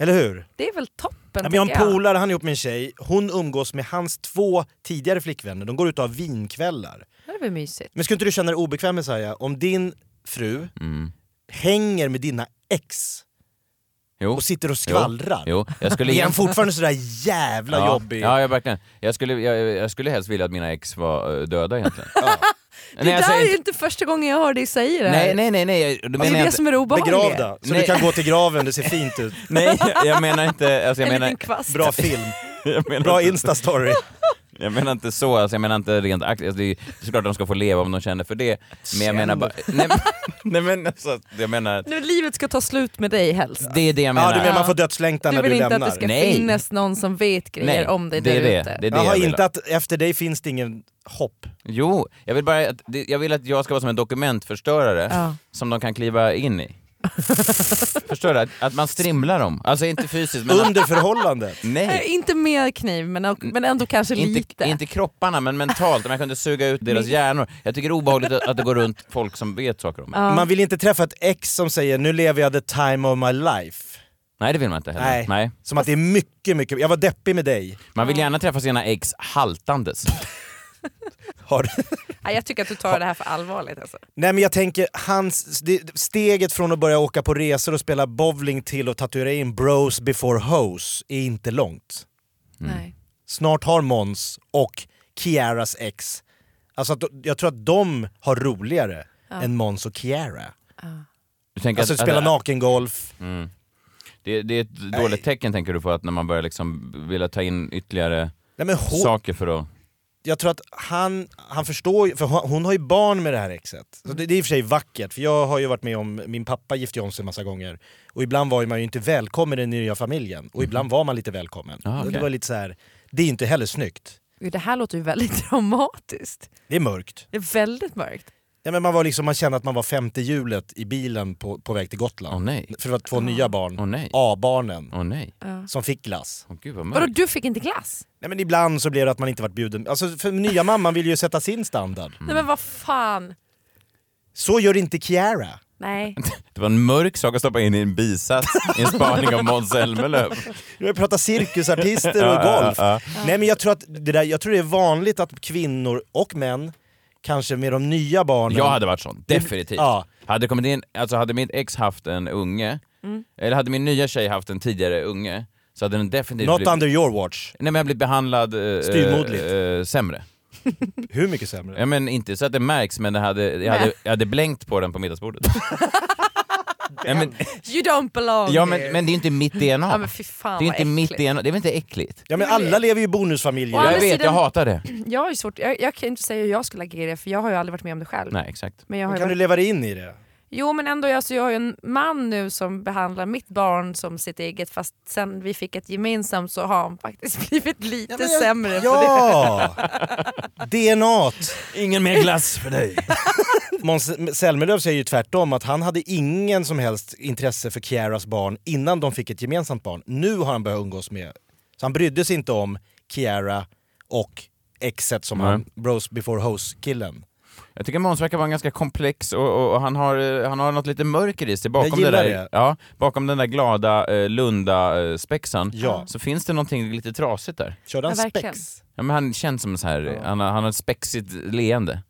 [SPEAKER 3] Eller hur?
[SPEAKER 4] Det är väl toppen
[SPEAKER 3] Ja, men jag
[SPEAKER 4] tycker
[SPEAKER 3] har en polare, han är ihop med en tjej. Hon umgås med hans två tidigare flickvänner. De går ut och har vinkvällar.
[SPEAKER 4] Det är väl mysigt?
[SPEAKER 3] Men skulle inte du känna dig obekväm med Saja, om din fru
[SPEAKER 2] Mm.
[SPEAKER 3] hänger med dina ex
[SPEAKER 2] Jo.
[SPEAKER 3] och sitter och
[SPEAKER 2] Jo.
[SPEAKER 3] skvallrar?
[SPEAKER 2] Jo, jag skulle
[SPEAKER 3] Är han
[SPEAKER 2] egentligen-
[SPEAKER 3] fortfarande sådär jävla
[SPEAKER 2] ja.
[SPEAKER 3] jobbig?
[SPEAKER 2] Ja, jag, verkligen. Jag, skulle, jag, jag skulle helst vilja att mina ex var eh, döda egentligen.
[SPEAKER 4] Det
[SPEAKER 2] jag
[SPEAKER 4] där
[SPEAKER 2] säger
[SPEAKER 4] är ju
[SPEAKER 2] inte-
[SPEAKER 4] inte första gången jag hör dig säga det här. Alltså,
[SPEAKER 2] Nej, nej, nej, nej. Då
[SPEAKER 4] Det
[SPEAKER 2] menar
[SPEAKER 4] är
[SPEAKER 2] jag
[SPEAKER 4] det
[SPEAKER 2] inte-
[SPEAKER 4] som är det obehagliga.
[SPEAKER 3] Begravda, så
[SPEAKER 2] Nej.
[SPEAKER 3] du kan gå till graven, det ser fint ut.
[SPEAKER 2] Nej, jag menar inte... Alltså, jag
[SPEAKER 4] En
[SPEAKER 2] menar,
[SPEAKER 4] liten kvast.
[SPEAKER 3] Bra film,
[SPEAKER 2] jag menar
[SPEAKER 3] bra
[SPEAKER 2] inte-
[SPEAKER 3] instastory.
[SPEAKER 2] Jag menar inte så, alltså, jag menar inte rent aktivt. Alltså, det är det är såklart de ska få leva om de känner för det. Men jag menar bara... Nej, men- nej men alltså, jag menar...
[SPEAKER 4] Nu, livet ska ta slut med dig helst.
[SPEAKER 2] Det är det jag menar.
[SPEAKER 3] Ja, du menar man får
[SPEAKER 4] Ja.
[SPEAKER 3] dödslängtan när
[SPEAKER 4] Du vill
[SPEAKER 3] du
[SPEAKER 4] inte
[SPEAKER 3] lämnar?
[SPEAKER 4] att det ska
[SPEAKER 2] Nej.
[SPEAKER 4] finnas någon som vet grejer
[SPEAKER 2] Nej,
[SPEAKER 4] om dig
[SPEAKER 2] det
[SPEAKER 4] där
[SPEAKER 2] är det.
[SPEAKER 4] ute.
[SPEAKER 2] Det är det
[SPEAKER 3] Jaha,
[SPEAKER 2] jag vill
[SPEAKER 3] inte
[SPEAKER 2] ha.
[SPEAKER 3] att efter dig finns det ingen hopp.
[SPEAKER 2] Jo, jag vill bara att, det- jag vill att jag ska vara som en dokumentförstörare
[SPEAKER 4] Ja.
[SPEAKER 2] som de kan kliva in i. Förstår du? Att, att man strimlar dem. Alltså inte fysiskt men...
[SPEAKER 3] Under förhållandet.
[SPEAKER 2] Nej.
[SPEAKER 4] Nej, inte mer kniv, men, men ändå kanske
[SPEAKER 2] Inte,
[SPEAKER 4] lite.
[SPEAKER 2] inte kropparna men mentalt, om jag kunde suga ut deras hjärnor. Jag tycker det är obehagligt att, att det går runt folk som vet saker om mig.
[SPEAKER 4] Ja.
[SPEAKER 3] Man vill inte träffa ett ex som säger “nu lever jag the time of my life”.
[SPEAKER 2] Nej det vill man inte heller.
[SPEAKER 3] Nej. Som att det är mycket, mycket, jag var deppig med dig.
[SPEAKER 2] Man vill gärna träffa sina ex haltandes.
[SPEAKER 3] Har du?
[SPEAKER 4] Nej, jag tycker att du tar det här för allvarligt. Alltså.
[SPEAKER 3] Nej men jag tänker, hans, det- steget från att börja åka på resor och spela bowling till att tatuera in “bros before hoes” är inte långt.
[SPEAKER 2] Mm.
[SPEAKER 4] Nej.
[SPEAKER 3] Snart har Mons och Kiaras ex, alltså att, jag tror att de har roligare än Mons och Kiara.
[SPEAKER 2] Du tänker
[SPEAKER 3] Alltså spela
[SPEAKER 2] att,
[SPEAKER 3] nakengolf.
[SPEAKER 2] det, det är ett dåligt tecken tänker du på att när man börjar liksom vilja ta in ytterligare
[SPEAKER 3] Nej, men hon,
[SPEAKER 2] saker för att...
[SPEAKER 3] jag tror att han, han förstår ju- för hon, hon har ju barn med det här exet. Så
[SPEAKER 2] Mm.
[SPEAKER 3] det, det är i och för sig vackert, för jag har ju varit med om, min pappa gifte ju om sig massa gånger. Och ibland var ju man ju inte välkommen i den nya familjen, och ibland var man lite välkommen.
[SPEAKER 2] Mhm. Ah, okej.
[SPEAKER 3] Det var lite så här, det är ju inte heller snyggt.
[SPEAKER 4] Gud, Det här låter ju väldigt dramatiskt.
[SPEAKER 3] Det är mörkt.
[SPEAKER 4] Det är väldigt mörkt.
[SPEAKER 3] Ja, men man, var liksom, man kände att man var femte hjulet i bilen på, på väg till Gotland.
[SPEAKER 2] Åh nej. Ah.
[SPEAKER 3] För det var två nya barn,
[SPEAKER 2] Åh nej.
[SPEAKER 3] A-barnen,
[SPEAKER 2] Åh nej.
[SPEAKER 3] som fick glass.
[SPEAKER 2] Åh gud vad
[SPEAKER 4] Vadå,
[SPEAKER 2] mörkt.
[SPEAKER 4] du fick inte glass?
[SPEAKER 3] Nej, men ibland så blev det att man inte varit bjuden. Alltså, för nya mamman vill ju sätta sin standard.
[SPEAKER 2] Mm.
[SPEAKER 4] Nej men vad fan.
[SPEAKER 3] Så gör inte Kiara.
[SPEAKER 4] Nej.
[SPEAKER 2] Det var en mörk sak att stoppa in i en bisats i en spaning av Måns Zelmerlöw.
[SPEAKER 3] Vi pratar cirkusartister och golf. Nej men jag tror att det, där, jag tror det är vanligt att kvinnor och män, kanske med de nya barnen...
[SPEAKER 2] Jag hade varit
[SPEAKER 4] Mm.
[SPEAKER 2] sån, definitivt.
[SPEAKER 3] Ja.
[SPEAKER 2] Hade, det kommit in, alltså hade mitt ex haft en unge,
[SPEAKER 4] Mm.
[SPEAKER 2] eller hade min nya tjej haft en tidigare unge, så hade den definitivt
[SPEAKER 3] Not
[SPEAKER 2] blivit,
[SPEAKER 3] under your watch.
[SPEAKER 2] nej, men jag blivit behandlad eh,
[SPEAKER 3] Styvmoderligt.
[SPEAKER 2] eh, sämre.
[SPEAKER 3] Hur mycket sämre?
[SPEAKER 2] Ja, men inte så att det märks, men det hade, jag, hade, jag hade blänkt på den på middagsbordet. ja, men,
[SPEAKER 4] You don't belong
[SPEAKER 2] ja, men,
[SPEAKER 4] here.
[SPEAKER 2] men det är ju inte mitt DNA.
[SPEAKER 4] Ja, men fy fan,
[SPEAKER 2] det är ju
[SPEAKER 4] vad
[SPEAKER 2] inte mitt
[SPEAKER 4] äckligt.
[SPEAKER 2] DNA, det är väl inte äckligt?
[SPEAKER 3] Ja men alla lever ju i bonusfamiljer.
[SPEAKER 4] Och
[SPEAKER 2] Jag
[SPEAKER 4] andra
[SPEAKER 2] vet, jag
[SPEAKER 4] sidan-
[SPEAKER 2] hatar det.
[SPEAKER 4] Jag, har ju svårt, jag, jag kan ju inte säga hur jag skulle agera för jag har ju aldrig varit med om det själv.
[SPEAKER 2] Nej, exakt.
[SPEAKER 4] Men jag har
[SPEAKER 3] Men
[SPEAKER 4] ju
[SPEAKER 3] Kan du
[SPEAKER 4] varit...
[SPEAKER 3] leva dig in i det?
[SPEAKER 4] Jo men ändå, alltså, jag har ju en man nu som behandlar mitt barn som sitt eget fast sen vi fick ett gemensamt så har han faktiskt blivit lite sämre på det.
[SPEAKER 3] Ja! DNAt.
[SPEAKER 2] Ingen mer glass för dig.
[SPEAKER 3] Måns Zelmerlöw säger ju tvärtom att han hade ingen som helst intresse för Kiaras barn innan de fick ett gemensamt barn. Nu har han börjat umgås med... Så han brydde sig inte om Kiara och exet som
[SPEAKER 2] Nej.
[SPEAKER 3] han, Bros before hoes-killen.
[SPEAKER 2] Jag tycker Måns verkar vara ganska komplex och, och, och han, har, eh, han har något lite mörker i sig. Bakom,
[SPEAKER 3] gillar
[SPEAKER 2] där,
[SPEAKER 3] det.
[SPEAKER 2] Ja, bakom den där glada eh, Lunda-spexan
[SPEAKER 3] Ja.
[SPEAKER 2] så finns det någonting lite trasigt där.
[SPEAKER 3] Körde han
[SPEAKER 4] Ja, verkligen.
[SPEAKER 3] spex?
[SPEAKER 2] Ja, men han känns som så här, han, har- han har ett spexigt leende.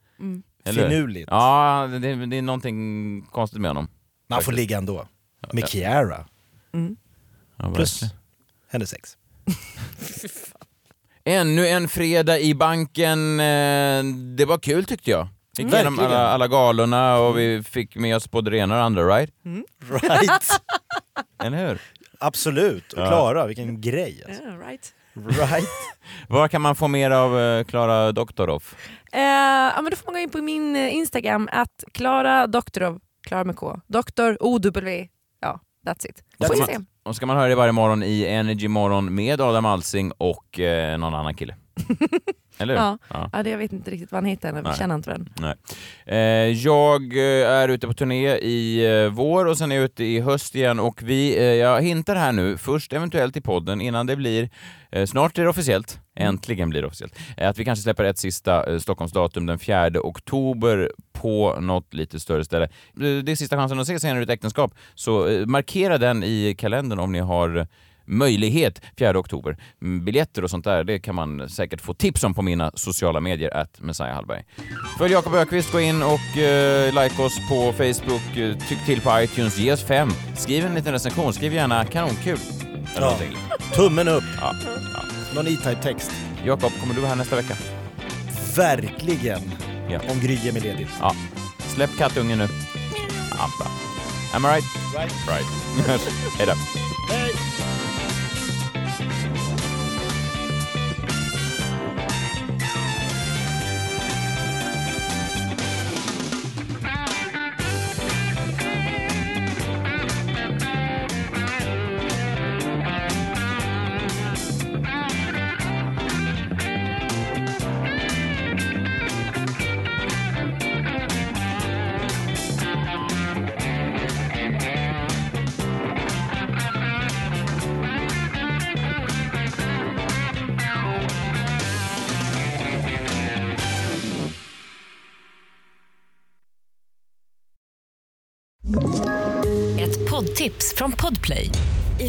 [SPEAKER 2] Eller hur?
[SPEAKER 3] Finurligt.
[SPEAKER 2] Ja, det, det är någonting konstigt med honom.
[SPEAKER 3] Man får ligga ändå. Med Kiara.
[SPEAKER 2] Ja,
[SPEAKER 3] Plus
[SPEAKER 2] verkligen.
[SPEAKER 3] hennes sex.
[SPEAKER 2] Ännu en fredag i banken. eh, Det var kul tyckte jag. Gick igenom
[SPEAKER 3] Verkligen.
[SPEAKER 2] alla, alla galorna och vi fick med oss både det ena och det andra, right?
[SPEAKER 3] Mm. Right!
[SPEAKER 2] Eller hur?
[SPEAKER 3] Absolut. Och Klara, vilken grej. Alltså.
[SPEAKER 4] Ja, right.
[SPEAKER 3] Right.
[SPEAKER 2] Vad kan man få mer av eh, Klara Doktorov?
[SPEAKER 4] Eh, ja, men då får man gå in på min eh, Instagram, att Klara Doktorov, Klara med K, Doktor OW, ja that's it.
[SPEAKER 2] That's
[SPEAKER 4] På
[SPEAKER 2] it.
[SPEAKER 4] Instagram.
[SPEAKER 2] Och ska man höra det varje morgon i Energy Morgon med Adam Alsing och eh, någon annan kille. Eller hur?
[SPEAKER 4] Ja. Ja, det, jag vet inte riktigt vad han heter, jag
[SPEAKER 2] Nej.
[SPEAKER 4] känner inte den.
[SPEAKER 2] Nej. Eh, jag eh, är ute på turné i eh, vår och sen är jag ute i höst igen och vi, eh, jag hintar här nu, först eventuellt i podden innan det blir, eh, snart är det officiellt, äntligen blir det officiellt, eh, att vi kanske släpper ett sista eh, Stockholmsdatum den 4 oktober på något lite större ställe. Eh, Det är sista chansen att se senare ut äktenskap, så eh, markera den i kalendern om ni har möjlighet 4 oktober. Mm, Biljetter och sånt där, det kan man säkert få tips om på mina sociala medier, att Messiah Hallberg. Följ Jakob Ökvist, gå in och eh, like oss på Facebook, eh, tyck till på iTunes, ge oss fem. Skriv en liten recension, skriv gärna kanonkul. Eller
[SPEAKER 3] Ja.
[SPEAKER 2] någonting.
[SPEAKER 3] Tummen upp.
[SPEAKER 2] Ja.
[SPEAKER 3] Någon E-Type-text.
[SPEAKER 2] Jakob, kommer du vara här nästa vecka?
[SPEAKER 3] Verkligen.
[SPEAKER 2] Ja.
[SPEAKER 3] Om Gry är med ledigt.
[SPEAKER 2] Ja. Släpp kattungen nu. Ja, bra. Am I right? Right. right. Hej då.
[SPEAKER 8] poddtips från Podplay. I